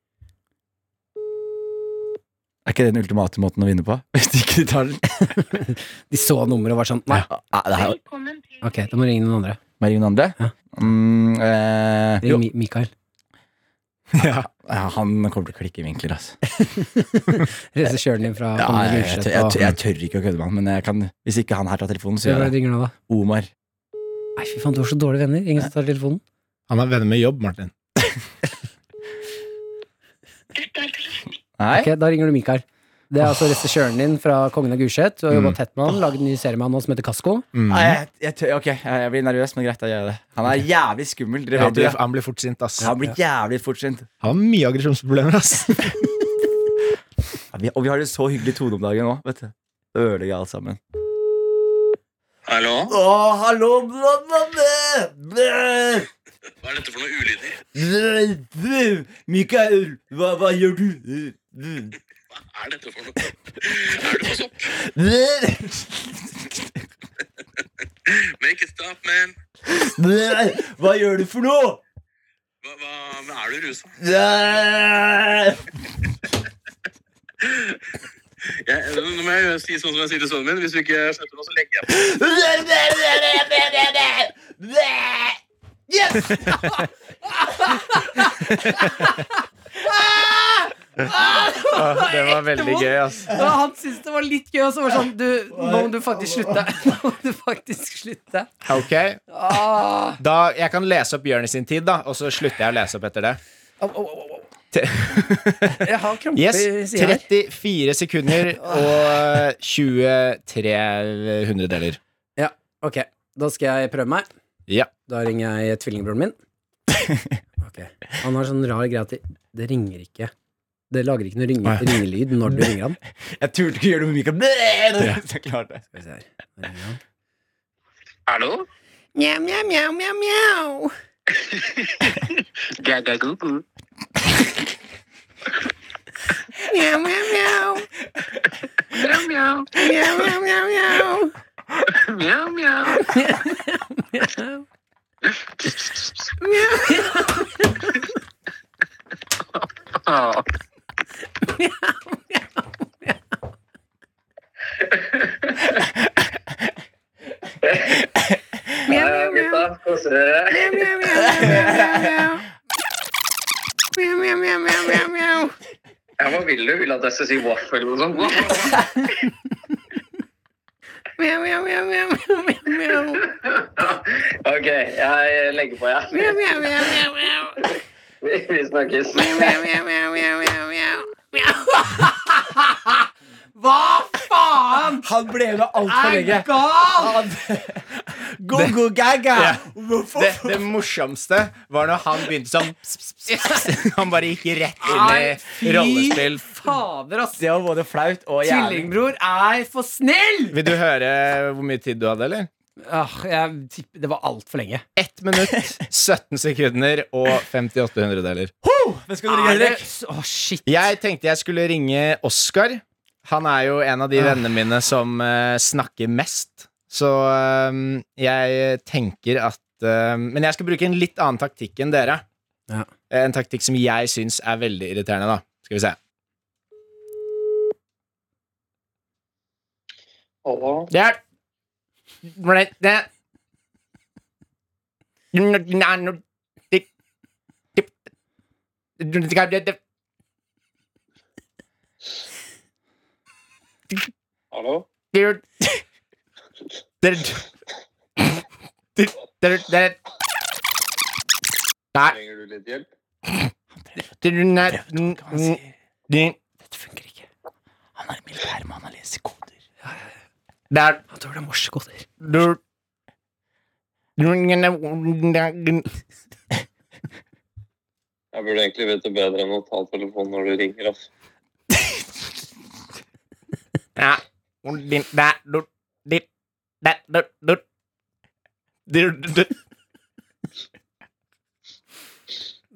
S3: Er ikke det den ultimate måten å vinne på? [LAUGHS] Hvis de ikke tar den.
S4: De så nummeret og var sånn Nei.
S3: Ah, det her
S4: Ok, da må du ringe noen andre.
S3: Må jeg ringe noen
S4: Ja.
S3: andre? Mm, eh,
S4: Ring
S3: jo,
S4: Mi Mikael.
S3: [LAUGHS] ja, han kommer til å klikke i vinkler, altså.
S4: Regissøren din fra
S3: Ja, jeg, jeg,
S4: Gulset
S3: tør, jeg,
S4: og-
S3: tør, jeg tør ikke å kødde med han, men jeg kan, hvis ikke han her tar telefonen, så
S4: Hvem
S3: gjør
S4: er det
S3: jeg det.
S4: du ringer nå, da?
S3: Omar.
S4: Nei, fy faen, du har så dårlige venner. Ingen som tar telefonen.
S2: Han er venner med jobb, Martin.
S3: Nei?
S4: Ok, Da ringer du Mikael. Det er altså regissøren din fra Kongen av Gulset. Du har jobba tett med han, laget en ny serie med han nå som heter Kasko.
S3: Nei, jeg, jeg, tør, ok, jeg jeg blir nervøs, men greit, jeg gjør det. Han er jævlig skummel. Dere
S2: Ja,
S3: vet jo det.
S2: han blir fort sint, ass.
S3: Han blir jævlig fortsint.
S2: Han har mye aggresjonsproblemer, [LAUGHS] ass.
S3: Ja, vi, og vi har det så hyggelig tone om dagen nå, vet du. Det ødelegger alt sammen.
S6: Hallo?
S3: Å, hallo, blablabla! Blæ!
S6: Hva er dette for noen ulyder?
S3: Blæ! Blæ! Mikael, hva, hva gjør du? Blæ!
S6: Hva er dette for noe? Er du på sopp?
S3: Blæ!
S6: Make it stop, man.
S3: Blæ! Hva gjør du for noe?
S6: Hva, hva, men er du rusa?
S3: Blæ!
S6: Jeg, nå må jeg si sånn som jeg sier til sønnen min. Hvis du ikke slutter nå, så legger jeg på.
S3: Yes!
S2: Det var veldig gøy, [LAUGHS] ass.
S4: Og han syntes det var litt gøy, og så var det sånn du, Nå må du faktisk slutte. [LAUGHS] Nå må du faktisk slutte.
S2: Ok.
S4: Ah.
S2: Da, jeg kan lese opp Jonis sin tid, da, og så slutter jeg å lese opp etter det.
S4: Au, au, au, au. [LAUGHS] Jeg har krampe
S2: Yes.
S4: i sida her.
S2: 34 sekunder og 23 hundredeler.
S4: Ja, ok. Da skal jeg prøve meg.
S2: Ja.
S4: Da ringer jeg tvillingbroren [LAUGHS] min. Ok Han har sånn rar greie at det- det ringer ikke. Det lager ikke noe ringe,
S2: Nei.
S4: ringelyd når [LAUGHS] du ringer han.
S3: Jeg turte ikke gjøre det med Mikael. Blæ! Så jeg klarte det.
S4: Skal vi se her. Nå ringer han.
S6: Hallo?
S4: Mjau, mjau, mjau, mjau, mjau.
S6: Gaga-gugu.
S4: Mjau, mjau, mjau.
S6: Mjau,
S4: Mjau, mjau, mjau, mjau.
S6: mjau, mjau.
S4: Mjau.
S7: Ja, ja, gutta. Koser dere? Ja, hva vil du? Vil du at jeg skal si vaffel og sånn? OK, jeg legger på, jeg. Vi vi snakkes.
S4: Hva faen?
S3: Han ble med altfor
S4: Er
S3: lenge.
S4: gal!
S3: [LAUGHS] Go, go, gaga. Hvorfor-
S2: Det, det morsomste var når han begynte sånn [LAUGHS] Han bare gikk rett
S4: Nei,
S2: inn i rollespill.
S4: fader, ass.
S3: Det var både flaut og jævlig.
S4: Tvillingbror er for snill!
S2: Vil du høre hvor mye tid du hadde, eller?
S4: Ah, jeg tipper det var altfor lenge.
S2: 1 minutt, 17 sekunder og 58 hundredeler.
S3: Men skal du ringe Henrik?
S4: Å, shit.
S2: Jeg tenkte jeg skulle ringe Oskar. Han er jo en av de vennene mine som eh, snakker mest. Så eh, jeg tenker at eh, Men jeg skal bruke en litt annen taktikk enn dere. Eh,
S4: Ja.
S2: En taktikk som jeg syns er veldig irriterende, da. Skal vi se.
S7: Hallo.
S2: Der. Hvordan det-
S7: Hallo. Trenger du litt hjelp?
S4: Dette funker ikke.
S3: Han er militærmann, han leser koder.
S4: Han tror det er morsekoder.
S7: Jeg burde egentlig vite bedre enn å ta telefonen når du ringer. ass.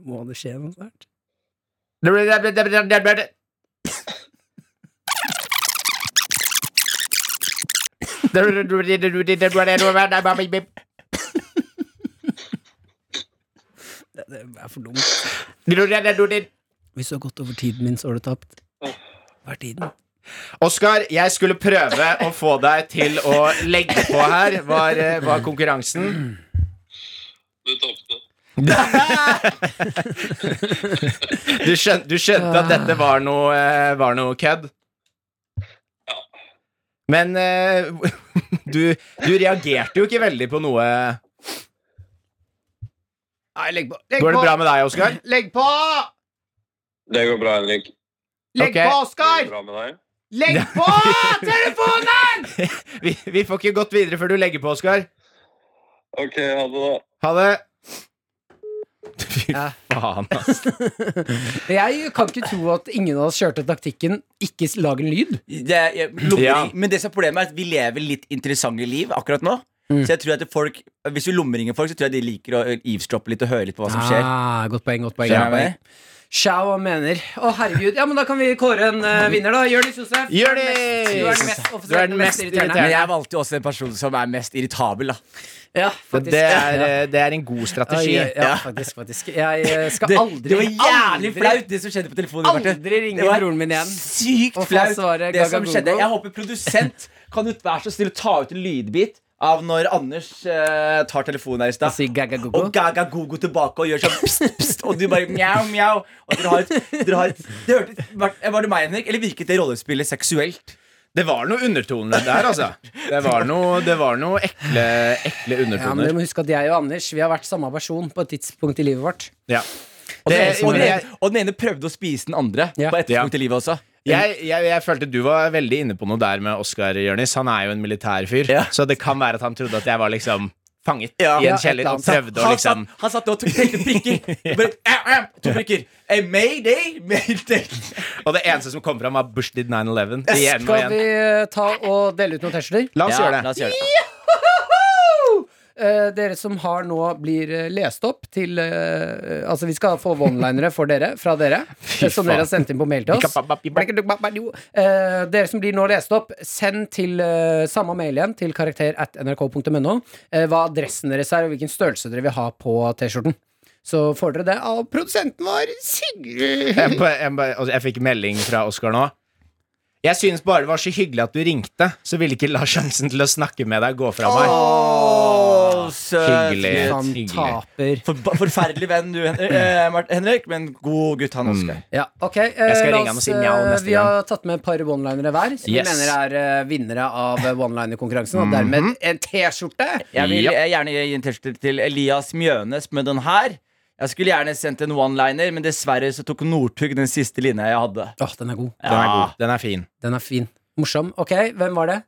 S4: Må det skje noe snart? Det, det er for dumt. Hvis du har gått over tiden min, så har du tapt. Hva er tiden?
S2: Oskar, jeg skulle prøve å få deg til å legge på her, var, eh, var konkurransen.
S7: Du tapte.
S2: [LAUGHS] Du skjønte, du skjønte at dette var noe, eh, var noe kødd? Men eh, [LAUGHS] du, du reagerte jo ikke veldig på noe
S4: Nei, legg på.
S2: Går det bra med deg, Oskar?
S4: Legg på!
S7: Det går bra, Henrik.
S2: Legg Ok. på,
S7: Det går bra med deg.
S4: Legg
S2: [LAUGHS]
S4: på telefonen!
S2: Vi, vi får ikke gått videre før du legger på, Oskar.
S7: OK, ha det, da.
S2: Ha det. Fy faen, ass.
S4: Jeg kan ikke tro at ingen av oss kjørte taktikken 'ikke lag en lyd'.
S3: Det, jeg, lukker
S2: Ja.
S3: ring. Men det som er problemet er at vi lever litt interessante liv akkurat nå. Så jeg tror at folk Hvis vi lommeringer folk, så tror jeg de liker å eh, eavesdroppe litt og høre litt på hva som skjer.
S4: Ah, godt poeng, godt poeng.
S3: Skjønner du hva jeg mener?
S4: Sjau og mener. Å, herregud. Ja, men da kan vi kåre en eh, vinner, da. Jørnis Josef.
S2: Gjør det!
S4: Du er den
S2: Du
S4: mest
S2: er
S4: offisielle,
S2: den
S4: mest
S2: mest
S3: Men
S4: irriterende.
S3: jeg valgte jo også en person som er mest irritabel, da.
S4: Ja, faktisk.
S2: Det er,
S4: [LAUGHS] Ja.
S2: eh, det er en god strategi.
S4: Oi, ja, faktisk, faktisk. Jeg eh, skal
S3: Det,
S4: aldri
S3: det var jævlig
S4: aldri-
S3: flaut, det som skjedde på telefonen. Marte.
S4: Aldri ringe
S3: Det var
S4: broren min igjen.
S3: Sykt
S4: Og få
S3: flaut,
S4: svaret
S3: det som
S4: Gagagogo.
S3: skjedde. Jeg håper produsent kan du være så snill å ta ut en lydbit av når Anders eh, tar telefonen her i
S4: Da
S3: stad.
S4: sier Gaga Gogo.
S3: Og Gaga Gogo tilbake og gjør sånn pst, pst, og du bare mjau, mjau. Og dere har et, dere har et det hørte, var, var det meg, Henrik, eller virket det rollespillet seksuelt?
S2: Det var noe undertoner der, altså. Det var noe, det var noe ekle, ekle
S4: Ja, men Dere
S2: undertoner.
S4: må huske at jeg og Anders Vi har vært samme person på et tidspunkt i livet vårt.
S2: Ja.
S3: Og den,
S2: Det-
S3: og,
S4: sånn-
S3: den ene, og den ene prøvde å spise den andre
S4: Ja.
S3: på et
S2: Ja.
S3: punkt i livet også.
S2: Jeg, jeg, jeg følte du var veldig inne på noe der med Oskar Jørnis. Han er jo en militær fyr,
S3: Ja.
S2: så det kan være at han trodde at jeg var liksom fanget
S3: Ja.
S2: i
S4: Ja,
S2: en
S4: et
S2: kjeller
S4: eller
S2: og
S4: annet.
S2: prøvde å
S3: Han
S2: liksom
S3: satt, han satt og tok tenkte
S2: [LAUGHS]
S3: prikker. Bare, eh, eh, to prikker. Eh, mayday, mayday.
S2: Og det eneste som kom fram, var 'Bush did 9-11'. Igjen og
S4: Skal vi
S2: igjen.
S4: eh, ta og dele ut noen T-skjorter?
S2: La oss
S3: Ja,
S2: gjøre
S3: la
S2: det.
S3: oss gjøre det.
S4: Eh, dere som har nå blir eh, lest opp til eh, Altså, vi skal få one-linere for dere, fra dere,
S3: [LAUGHS]
S4: eh, som dere har sendt inn på mail til oss. Eh, dere som blir nå lest opp, send til eh, samme mail igjen, til karakter at nrk.no, eh, hva adressen deres er, og hvilken størrelse dere vil ha på T-skjorten. så får dere det av produsenten vår, Sigrid.
S2: Jeg, ba- jeg, ba- altså, jeg fikk melding fra Oskar nå. Jeg synes bare det var så hyggelig at du ringte, så ville ikke la sjansen til å snakke med deg gå fra meg.
S3: Åh, søt
S2: Hyggelig.
S3: gutt.
S4: Han
S2: hyggelig.
S4: taper.
S3: Forba- forferdelig venn du, Hen- eh, Mart- Henrik, men god gutt han Oskar.
S4: Ja, ok eh,
S2: skal
S4: la
S2: ringe han og
S4: oss,
S2: si mjau
S4: eh,
S2: neste
S4: Vi har tatt med et par one-linere hver, som
S2: Yes.
S4: vi mener er eh, vinnere av eh, one-liner-konkurransen. Og dermed
S2: Mhm.
S4: en T-skjorte.
S3: Jeg vil
S2: Ja.
S3: eh, gjerne gi en T-skjorte til Elias Mjønes med den her. Jeg skulle gjerne sendt en one-liner, men dessverre så tok Northug den siste linja jeg hadde.
S4: Åh, den er god.
S2: Den er god. Den er fin.
S4: Den er fin. Morsom. Ok, hvem var det?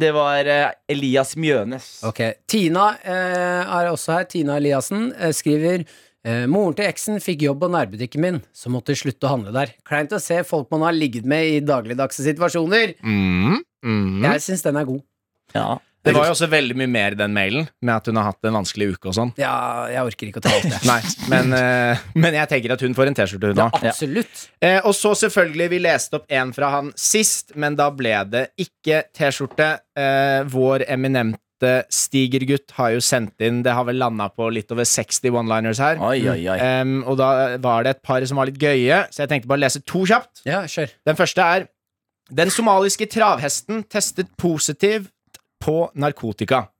S3: Det var eh, Elias Mjønes.
S4: Ok, Tina eh, er også her. Tina Eliassen eh, skriver eh, Moren til eksen fikk jobb på nærbutikken min, så måtte slutte å handle der. Kleint å se folk man har ligget med i dagligdagse situasjoner.
S3: Mhm.
S2: Mm. Mm.
S4: Jeg syns den er god.
S3: Ja.
S2: Det var jo også veldig mye mer i den mailen, med at hun har hatt en vanskelig uke og sånn.
S4: Ja, jeg orker ikke å
S3: [LAUGHS]
S4: ta alt det.
S2: Nei, men, eh, men jeg tenker at hun får en T-skjorte, hun òg.
S4: Absolutt.
S2: Eh, og så selvfølgelig, vi leste opp en fra han sist, men da ble det ikke T-skjorte. Eh, vår eminente Stiger-gutt har jo sendt inn Det har vel landa på litt over 60 one-liners her.
S3: Oi, oi, oi.
S2: Em, og da var det et par som var litt gøye, så jeg tenkte bare å lese to kjapt.
S4: Ja, kjør.
S2: Den første er Den somaliske travhesten testet positivt på narkotika.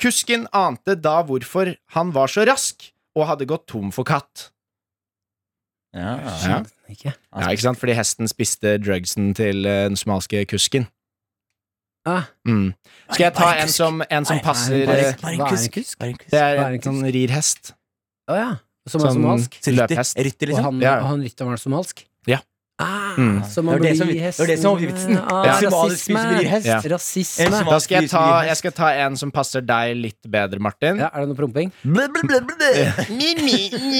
S2: Kusken ante da hvorfor han var så rask og hadde gått tom for katt.
S3: Ja.
S2: Ja.
S4: Ikke.
S2: Ja, ikke sant? Fordi hesten spiste drugsen til eh, den somaliske kusken.
S4: Ah,
S2: Mm. Skal jeg ta
S3: Nei, bare en
S2: en
S3: kusk.
S2: som, en som
S3: Nei,
S2: passer eh,
S3: bare, bare
S4: hva
S3: en
S4: er en
S3: kusk.
S4: kusk?
S3: Bare en kusk.
S2: Det er
S4: Hva er en
S2: en
S4: kusk?
S2: sånn rirhest.
S4: Å ja. Som er
S2: Sånn
S4: somalisk?
S2: løphest.
S3: Rytter, rytter,
S4: Og
S3: liksom.
S4: han,
S2: Ja, ja.
S4: og han rytteren var somalisk?
S2: Ja.
S4: Ah,
S2: Mm.
S4: Så
S3: Det var
S4: man
S3: det
S4: blir
S3: som- det var
S4: hesten
S3: det som var vitsen.
S4: Ah,
S2: Ja.
S3: Somalisk
S4: Rasisme.
S3: spiser blir hest.
S2: Ja.
S3: En
S4: Rasisme.
S3: som-
S2: Da skal jeg ta, jeg skal ta en som passer deg litt bedre, Martin.
S4: Ja, er det noe promping?
S3: Blæ, blæ, blæ, blæ, blæ.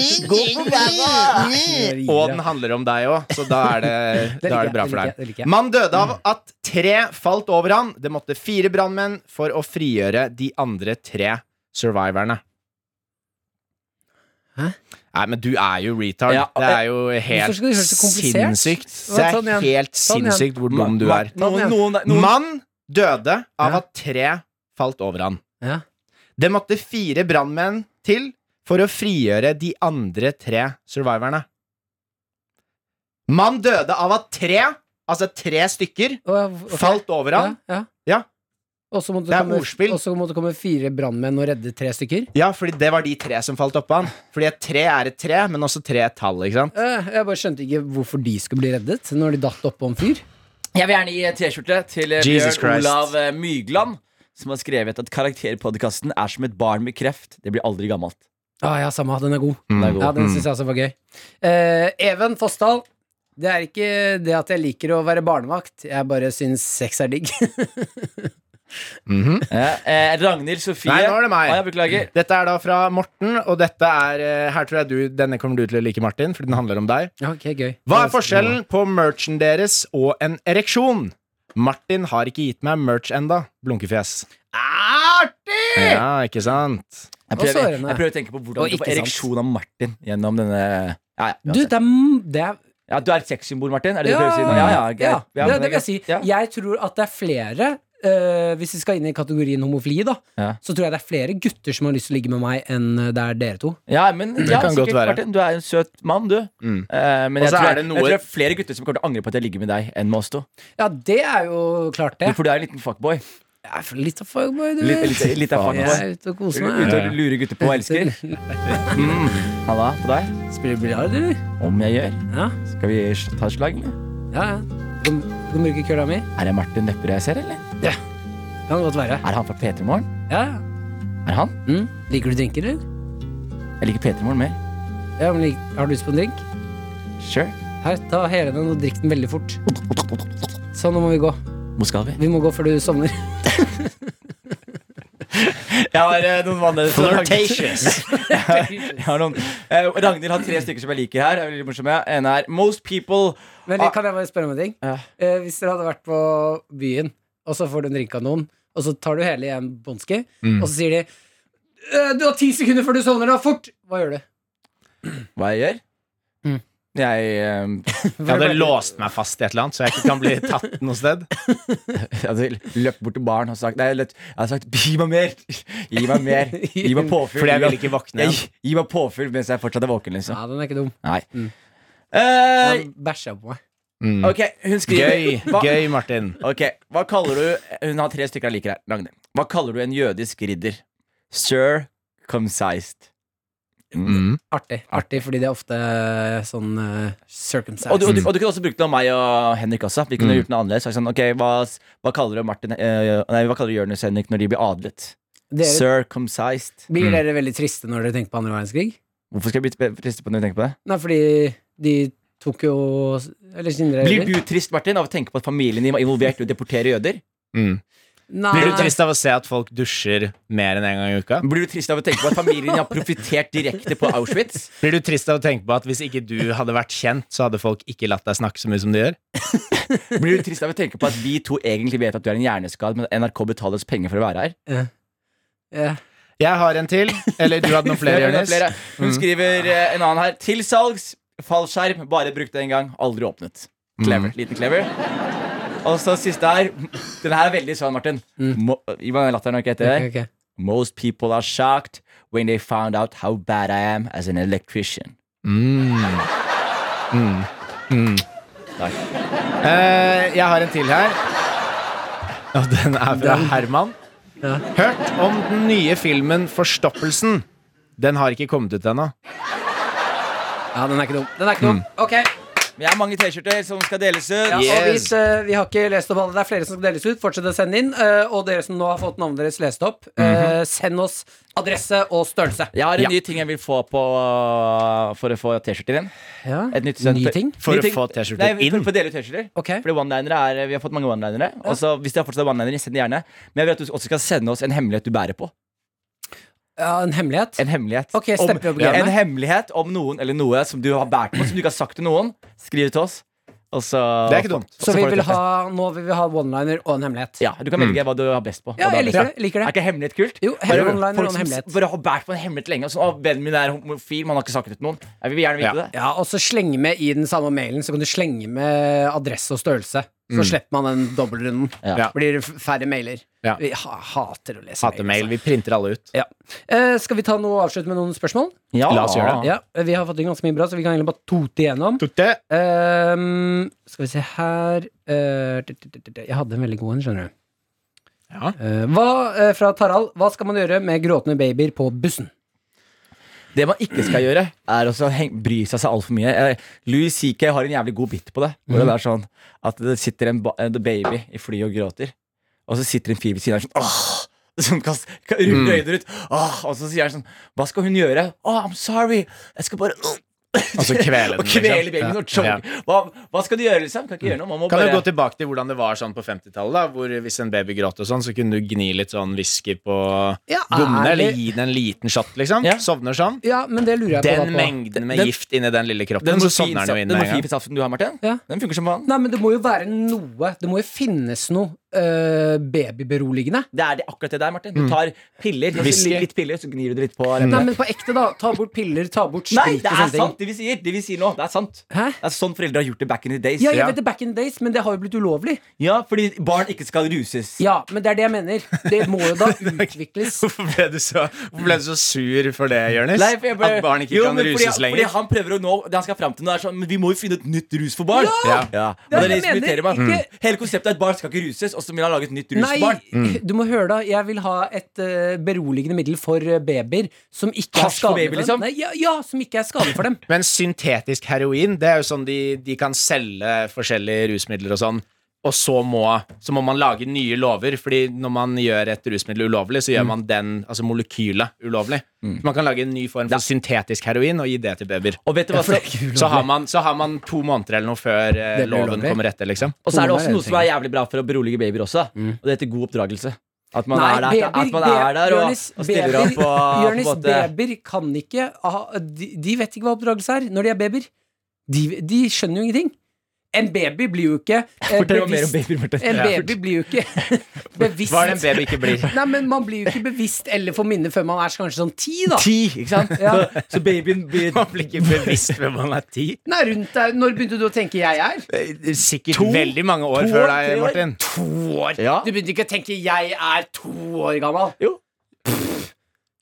S2: Og den handler om deg òg, så da er det,
S4: [LAUGHS] Det
S2: da er
S4: liker jeg,
S2: det bra
S4: det
S2: for
S4: liker jeg, Mm. det
S2: deg.
S4: liker jeg.
S2: Mann døde av at tre falt over han. Det måtte fire brannmenn for å frigjøre de andre tre surviverne.
S4: Hæ?
S2: Nei, men du er jo retard.
S3: Ja,
S2: det er jo helt
S4: Hvorfor skal du gjøre det så komplisert?
S2: sinnssykt.
S4: Hva,
S2: Det
S4: sånn
S2: er
S4: igjen.
S2: helt
S4: Sånn igjen.
S2: sinnssykt hvor dum du
S3: Ma-
S2: er.
S3: ma- Noen, noen, noen,
S2: Mann døde av
S4: Ja.
S2: at tre falt over han.
S4: Ja.
S2: Det måtte fire brannmenn til for å frigjøre de andre tre survivorene. Mann døde av at tre, altså tre stykker,
S4: Og- ok.
S2: falt over han.
S4: Ja, ja.
S2: Ja.
S4: Og så måtte
S2: Det er
S4: komme-
S2: ordspill.
S4: Og så måtte det komme fire brannmenn og redde tre stykker?
S2: Ja, fordi det var de tre som falt oppå han. Fordi et tre er et tre, men også tre er et tall, ikke sant?
S4: Eh, Jeg bare skjønte ikke hvorfor de skulle bli reddet når de datt oppå en fyr.
S3: Jeg vil gjerne gi en T-skjorte til eh,
S2: Jesus
S3: Bjørn
S2: Christ.
S3: Olav eh, Mygland, som har skrevet at karakterpodkasten er som et barn med kreft. Det blir aldri gammelt.
S4: Ah, ja, samme, den er god.
S2: Mm.
S3: Den er god.
S4: Ja, den syns jeg også var gøy. Eh, Even Fossdal. Det er ikke det at jeg liker å være barnevakt, jeg bare syns sex er digg.
S3: Ja, eh, Ragnhild Sofie.
S2: Nei, nå er det meg.
S3: Ah, jeg beklager.
S2: Dette er da fra Morten, og dette er eh, Her tror jeg du Denne kommer du til å like, Martin, fordi den handler om deg.
S4: ok, [LAUGHS] gøy.
S2: Hva er forskjellen på merchen deres og en ereksjon? Martin har ikke gitt meg merch enda, blunkefjes. Artig! Ja, ikke sant?
S3: Jeg
S4: Og
S3: prøver,
S4: sårene.
S3: jeg prøver å tenke på
S4: Og
S3: hvordan du får
S4: ikke sant.
S3: ereksjon av Martin gjennom denne ja, ja,
S4: Du, det er, m- det er
S3: ja, du er et sexsymbol, Martin? Er det det du prøver å si? nå? Ja, ja,
S4: ja,
S3: greit. Ja,
S4: det,
S3: men
S4: det vil jeg
S3: greit.
S4: si.
S3: Ja.
S4: Jeg tror at det er flere eh, Hvis vi skal inn i kategorien homofili, da,
S3: Ja.
S4: så tror jeg det er flere gutter som har lyst til å ligge med meg, enn eh, det er dere to.
S3: Ja, men ja,
S2: kan
S3: sikkert,
S2: godt være.
S3: Martin, du er en søt mann, du.
S2: Mm.
S3: Eh, men
S2: Og
S3: jeg
S2: så
S3: tror,
S2: er
S3: jeg,
S2: det noe-
S3: jeg tror det er flere gutter som kommer til å angre på at jeg ligger med deg, enn med oss to.
S4: Ja, det er jo klart,
S3: Du,
S4: det.
S3: for du er en liten fuckboy.
S4: Jeg er for litt av fuckboy, du.
S3: Litt, litt, litt av
S4: jeg
S3: fuckboy.
S4: er ute og koser
S3: Ute
S4: meg.
S3: og lurer gutter på hva jeg elsker. Mm. Halla på deg.
S4: Spiller biljard, eller?
S3: Om jeg gjør.
S4: Ja,
S3: Skal vi ta et slag, eller?
S4: ja. ja. Du kan, du kan bruke kølla mi.
S3: Er det Martin Lepperød jeg ser, eller?
S4: Kan godt være.
S3: Er han fra P3 Morgen?
S4: Ja, ja.
S3: Er han?
S4: Mm. Liker du drinker, eller?
S3: Jeg liker P3 Morgen mer.
S4: Ja, men lik- har du lyst på en drink?
S3: Sure.
S4: Her, ta hele den og drikk den veldig fort. Sånn, nå må vi gå.
S3: Hvor skal vi?
S4: Vi må gå før du sovner.
S3: [LAUGHS] Jeg har eh, noen andre Flirtatious jeg har noen eh, Ragnhild har tre stykker som jeg liker her er veldig morsomme. En er Most people
S4: Men
S3: Ah.
S4: kan jeg bare spørre om en ting?
S3: Ja.
S4: Eh, hvis dere hadde vært på byen, og så får du en drink av noen, og så tar du hele i en bånski,
S3: Mm.
S4: og så sier de «Eh, Du har ti sekunder før du sovner, da! Fort! Hva gjør du?
S3: Hva jeg gjør?
S4: Mm.
S3: Jeg, eh,
S2: [LAUGHS] Jeg hadde låst meg fast i et eller annet, så jeg ikke kan bli tatt noe sted.
S3: jeg hadde løpt bort til baren og sagt Nei, jeg løpt- jeg hadde sagt gi meg mer! Gi meg mer! Gi meg påfyll!
S2: Fordi jeg ville ikke våkne
S3: Jeg,
S2: igjen.
S3: gi meg påfyll mens jeg fortsatt er våken, liksom.
S4: Ja, den er ikke dum.
S3: Nei. Eh,
S4: Den bæsja på meg.
S2: Mm.
S3: ok, hun skriver
S2: Gøy,
S3: hva,
S2: gøy, Martin.
S3: Ok, hva kaller du Hun har tre stykker jeg liker her. Ragnhild. Hva kaller du en jødisk ridder? Sir Comcised.
S2: Mm.
S4: Artig. Artig, fordi det er ofte sånn uh, circumcised.
S3: Og du, og, du, og du kunne også brukt den av meg og Henrik også. Vi kunne
S2: Mm.
S3: gjort den annerledes. Sagt Sånn, ok, hva, hva kaller du Martin eh, Nei, hva kaller du Jonis og Henrik når de blir adlet?
S4: dere,
S3: Sir Comcised.
S4: Blir dere veldig triste når dere tenker på andre verdenskrig?
S3: Hvorfor skal jeg bli trist på når jeg tenker på det?
S4: Nei, fordi de tok jo Eller Sindre
S3: Blir du trist Martin, av å tenke på at familien din var involvert i å deportere jøder?
S2: Mm.
S4: Nei.
S2: Blir du trist av å se at folk dusjer mer enn én en gang i uka?
S3: Blir du trist av å tenke på at familien din har profitert direkte på Auschwitz?
S2: Blir du trist av å tenke på at hvis ikke du hadde vært kjent, så hadde folk ikke latt deg snakke så mye som de gjør?
S3: Blir du trist av å tenke på at vi to egentlig vet at du er en hjerneskadd, men NRK betaler oss penger for å være her?
S4: Ja.
S2: Jeg har en til. Eller [LAUGHS] du hadde noen flere,
S3: Det er
S2: Jonis.
S3: flere.
S4: Mm.
S3: Hun skriver eh, en annen her. Til salgs. Fallskjerm. Bare brukt én gang. Aldri åpnet.
S4: Mm.
S3: Clever. Liten clever. Og så siste her. Den her er veldig sånn, Martin. Mo Gi meg den latteren og ikke etter
S4: Mm. Ok,
S3: her.
S4: ok.
S3: Most people are shocked when they found out how bad I am as an electrician.
S2: Eh, jeg har en til her. Og den er fra Herman. Hørt om den nye filmen 'Forstoppelsen'. Den har ikke kommet ut ennå.
S4: Ja, den er ikke dum. Den
S3: Mm.
S4: er ikke dum. Ok.
S3: Vi har mange T-skjorter som skal deles ut.
S4: Ja, og hvis
S2: Yes.
S4: eh, vi har ikke lest opp alle, det er flere som skal deles ut, fortsett å sende inn. eh, og dere som nå har fått navnet deres lest opp,
S3: Mhm.
S4: eh, send oss adresse og størrelse.
S3: Jeg har en
S2: Ja.
S3: ny ting jeg vil få på for å få T-skjorter inn.
S4: Ja.
S3: Et nytt sønn-
S4: Ny ting?
S2: For
S3: Ny
S2: å
S3: ting-
S2: få T-skjorter
S3: Nei, for-
S2: inn.
S3: For å dele ut T-skjorter.
S4: Ok.
S3: Fordi one-linere er Vi har fått mange one-linere. Og så Hvis dere fortsatt har one-linere, send det gjerne. Men jeg vil at du også skal sende oss en hemmelighet du bærer på.
S4: Ja, en hemmelighet?
S3: En hemmelighet
S4: Ok,
S3: om,
S4: stempeljobbgreiene.
S3: En hemmelighet om noen eller noe som du har bært på, som du ikke har sagt til noen. Skriv det til oss. Og så
S2: Det er ikke dumt.
S4: Så
S3: og
S4: vi
S3: får du
S4: vil
S3: T-skjorte.
S4: ha, nå vil vi ha one-liner og en hemmelighet.
S3: Ja, Du kan
S2: Mm.
S3: velge hva du har best på. hva
S4: Ja,
S3: du har best
S4: jeg liker
S3: på.
S4: det. liker
S3: Er
S4: det
S3: ikke hemmelighet kult?
S4: Jo, heller
S3: Bare-
S4: one-liner
S3: folk
S4: og en
S3: som s-
S4: hemmelighet.
S3: Bare har bært på en hemmelighet lenge. Og sånn, å, 'Vennen min er homofil, man har ikke sagt det til noen.' Jeg vil gjerne vite
S2: Ja.
S3: det.
S4: Ja, Og så slenge med i den samme mailen, så kan du slenge med adresse og størrelse. Så slipper man den dobbeltrunden.
S3: Mm. Ja.
S2: Ja.
S4: Blir det f- færre mailer.
S2: Ja.
S4: Vi ha hater å lese
S2: Hater mail.
S4: altså.
S2: Vi printer alle ut.
S4: Ja. Eh, skal vi ta noe og avslutte med noen spørsmål?
S3: Ja.
S2: La oss gjøre det.
S4: Ja, Vi har fått inn ganske mye bra, så vi kan egentlig bare tote igjennom.
S2: Tutte.
S4: Ehm, skal vi se her Eh, t- t- t- t- Jeg hadde en veldig god en, skjønner du.
S2: Ja.
S4: Eh, hva, eh, fra Tarald. Hva skal man gjøre med gråtende babyer på bussen?
S3: Det man ikke skal gjøre, er også å heng- bry seg seg altfor mye. Eh, Louis CK har en jævlig god bit på det. Hvor det er sånn at det sitter en, ba en baby i flyet og gråter, og så sitter en fyr ved siden av og er sånn Åh! Som kast, ka- ruller øynene ut. Åh, og så sier han sånn Hva skal hun gjøre? Åh, I'm sorry. Jeg skal bare uh,
S2: Og så kvele Altså, den,
S3: [LAUGHS] Og kvele
S2: liksom.
S3: babyen
S2: Ja.
S3: og chog.
S2: Ja.
S3: Hva, hva skal du gjøre, liksom? Kan ikke gjøre noe. Man må
S2: Kan du
S3: bare
S2: gå tilbake til hvordan det var sånn på 50-tallet? da, Hvor Hvis en baby gråt, og sånn, så kunne du gni litt sånn whisky på
S4: Ja,
S2: gommene,
S4: ærlig.
S2: eller gi den en liten shot, liksom.
S3: Ja.
S2: Sovner sånn.
S4: Ja, men det lurer jeg på.
S2: Den
S4: hva på.
S2: mengden med
S3: Den-
S2: gift inni den lille kroppen,
S3: Den
S2: så sovner den jo inn med en gang.
S3: morfinfisaften du har, Martin,
S4: Ja.
S3: den funker som vann.
S4: Nei, men det må jo være noe Det må jo finnes noe eh, babyberoligende.
S3: Det er det, akkurat det der, Martin. Du tar piller, så
S2: Whisky.
S3: litt piller, så gnir du det litt på
S4: Nei, men på ekte, da. Ta bort piller, ta bort
S3: Nei,
S4: sprit
S3: det
S4: og
S3: er
S4: sånne ting.
S3: sant, det vi sier. Det vi sier nå, det er sant.
S4: Hæ?
S3: Det er sånn foreldre har gjort det back in the days.
S4: Ja, jeg
S2: Ja.
S4: vet det back in the days, men det har jo blitt ulovlig.
S3: Ja, fordi barn ikke skal ruses.
S4: Ja, men det er det jeg mener. Det må jo da utvikles.
S2: Hvorfor ble, du så, hvorfor ble du så sur for det, Jonis?
S3: Nei, for jeg bare-
S2: At barn ikke
S3: Jo,
S2: kan
S3: men fordi-
S2: ruses lenger?
S3: Fordi han prøver å nå Det han skal fram til nå, er sånn Men vi må jo finne et nytt rus for barn.
S4: Ja!
S2: Ja.
S3: Men
S4: Det er
S3: det er det
S4: det jeg
S3: som irriterer meg.
S4: mener, ikke-
S3: Mm. Hele konseptet er at barn skal ikke ruses, og så vil han lage et nytt rus
S4: Nei,
S3: for barn.
S4: du må høre, da. Jeg vil ha et eh, beroligende middel for eh, babyer som ikke er
S3: Hasj for
S4: skadelig
S3: baby,
S4: for
S3: liksom?
S4: dem. Nei, ja, ja, som ikke er skadelig for dem.
S2: Men syntetisk heroin, det er jo sånn de, de kan selge forskjellige rusmidler og sånn. Og så må, så må man lage nye lover, fordi når man gjør et rusmiddel ulovlig,
S3: Mm.
S2: så gjør man den, altså molekylet ulovlig. Så man kan lage en ny form for syntetisk heroin og gi det til babyer.
S3: Og vet du hva
S4: For
S3: så-
S4: det er
S2: Så
S4: ikke ulovlig.
S2: har man, så har man to måneder eller noe før eh,
S4: Det blir
S2: loven
S4: ulovlig.
S2: kommer etter, liksom.
S3: Og så er det
S4: Kona
S3: også
S4: er
S3: noe
S4: det
S3: som er jævlig bra for å berolige babyer også. Og det heter god oppdragelse. At man
S4: Nei,
S3: er der,
S4: babyer-
S3: at man er der og,
S4: Jonis,
S3: og stiller
S4: babyer-
S3: opp og på en
S4: Jonis,
S3: måte-
S4: babyer kan ikke ha, de, de vet ikke hva oppdragelse er når de er babyer. De, de skjønner jo ingenting. En baby blir jo ikke eh,
S3: Fortell meg mer om
S4: bevisst-
S3: babyer, Morten.
S4: En
S3: Ja.
S4: baby blir jo
S3: [LAUGHS]
S4: ikke bevisst
S2: Hva er det en baby ikke blir?
S4: Nei, men Man blir jo ikke bevisst eller får minne før man er kanskje sånn ti. da
S3: Ti, ikke sant? [LAUGHS]
S4: Ja.
S3: Så, så babyen blir
S2: Man blir ikke bevisst hvem man er ti.
S4: Nei, rundt der, Når begynte du å tenke 'jeg er'?
S2: Eh, Sikkert
S3: To?
S2: veldig mange år
S3: To år,
S2: før
S3: tre
S2: deg,
S3: år?
S2: Martin.
S3: Ja.
S4: Du begynte ikke å tenke 'jeg er to år gammel'.
S3: Jo.
S4: Pff,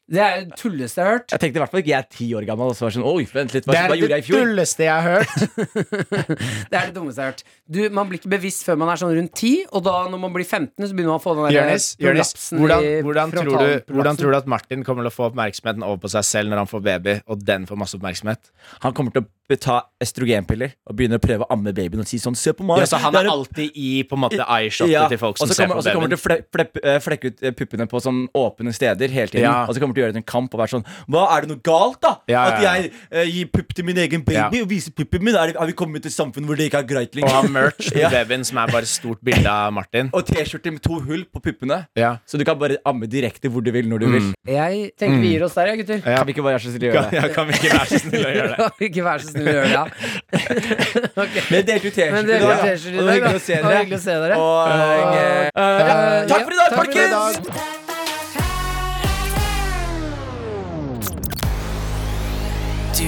S4: Det er det tulleste jeg har hørt.
S3: Jeg tenkte i hvert fall ikke jeg er ti år gammel. Og så var jeg sånn, oi, vent litt, hva,
S2: Det er
S3: hva gjorde
S2: det
S3: jeg i fjor?
S2: dulleste jeg har hørt.
S4: Det er det dummeste jeg har hørt. Du, Man blir ikke bevisst før man er sånn rundt ti, og da når man blir 15, så begynner man å få den der
S2: Jonis, Jonis,
S4: prolapsen
S2: hvordan,
S4: i
S2: hvordan, tror du,
S4: frontalen-
S2: hvordan tror du at Martin kommer til å få oppmerksomheten over på seg selv når han får baby, og den får masse oppmerksomhet?
S3: Han kommer til å ta estrogenpiller og begynne å prøve å amme babyen og si sånn, se på meg.
S2: Ja, så han
S3: Det
S2: er
S3: en-
S2: alltid i på en måte eye-shotet
S3: Ja,
S2: til folk
S3: og
S2: som
S3: så
S2: ser
S3: kommer,
S2: på
S3: og så kommer
S2: babyen.
S3: til å flepp- flepp- eh, flekke ut eh, puppene på sånn åpne steder hele tiden.
S2: Ja.
S3: Og så kommer til å gjøre det til en kamp og være sånn Hva er det noe galt, da?
S2: Ja, ja,
S3: At
S2: ja.
S3: jeg eh, gir pupp til min egen baby
S2: Ja.
S3: og viser puppen min? Er det, har vi kommet til et samfunn hvor det ikke er greit
S2: Og
S3: lenger?
S2: har merch
S3: [LAUGHS]
S2: til babyen, som er bare et stort bilde av Martin.
S3: Og T-skjorte med to hull på puppene.
S2: Ja. Mm.
S3: Så du kan bare amme direkte hvor du vil, når du vil.
S4: Jeg tenker vi gir oss der, ja, gutter.
S2: Ja.
S3: Kan vi ikke bare være så snille å gjøre det?
S2: Ja, kan vi ikke være så snille å
S4: [LAUGHS]
S2: gjøre det?
S4: ikke vær så snill å gjøre det. ja.
S3: Men delt ut
S4: Men
S3: T-skjorte
S4: det
S3: i dag.
S4: var
S3: da. Og det var hyggelig å se dere.
S4: hyggelig å se dere.
S3: Og, eh, eh, Takk for i dag,
S4: takk for i dag.
S3: folkens!
S8: Du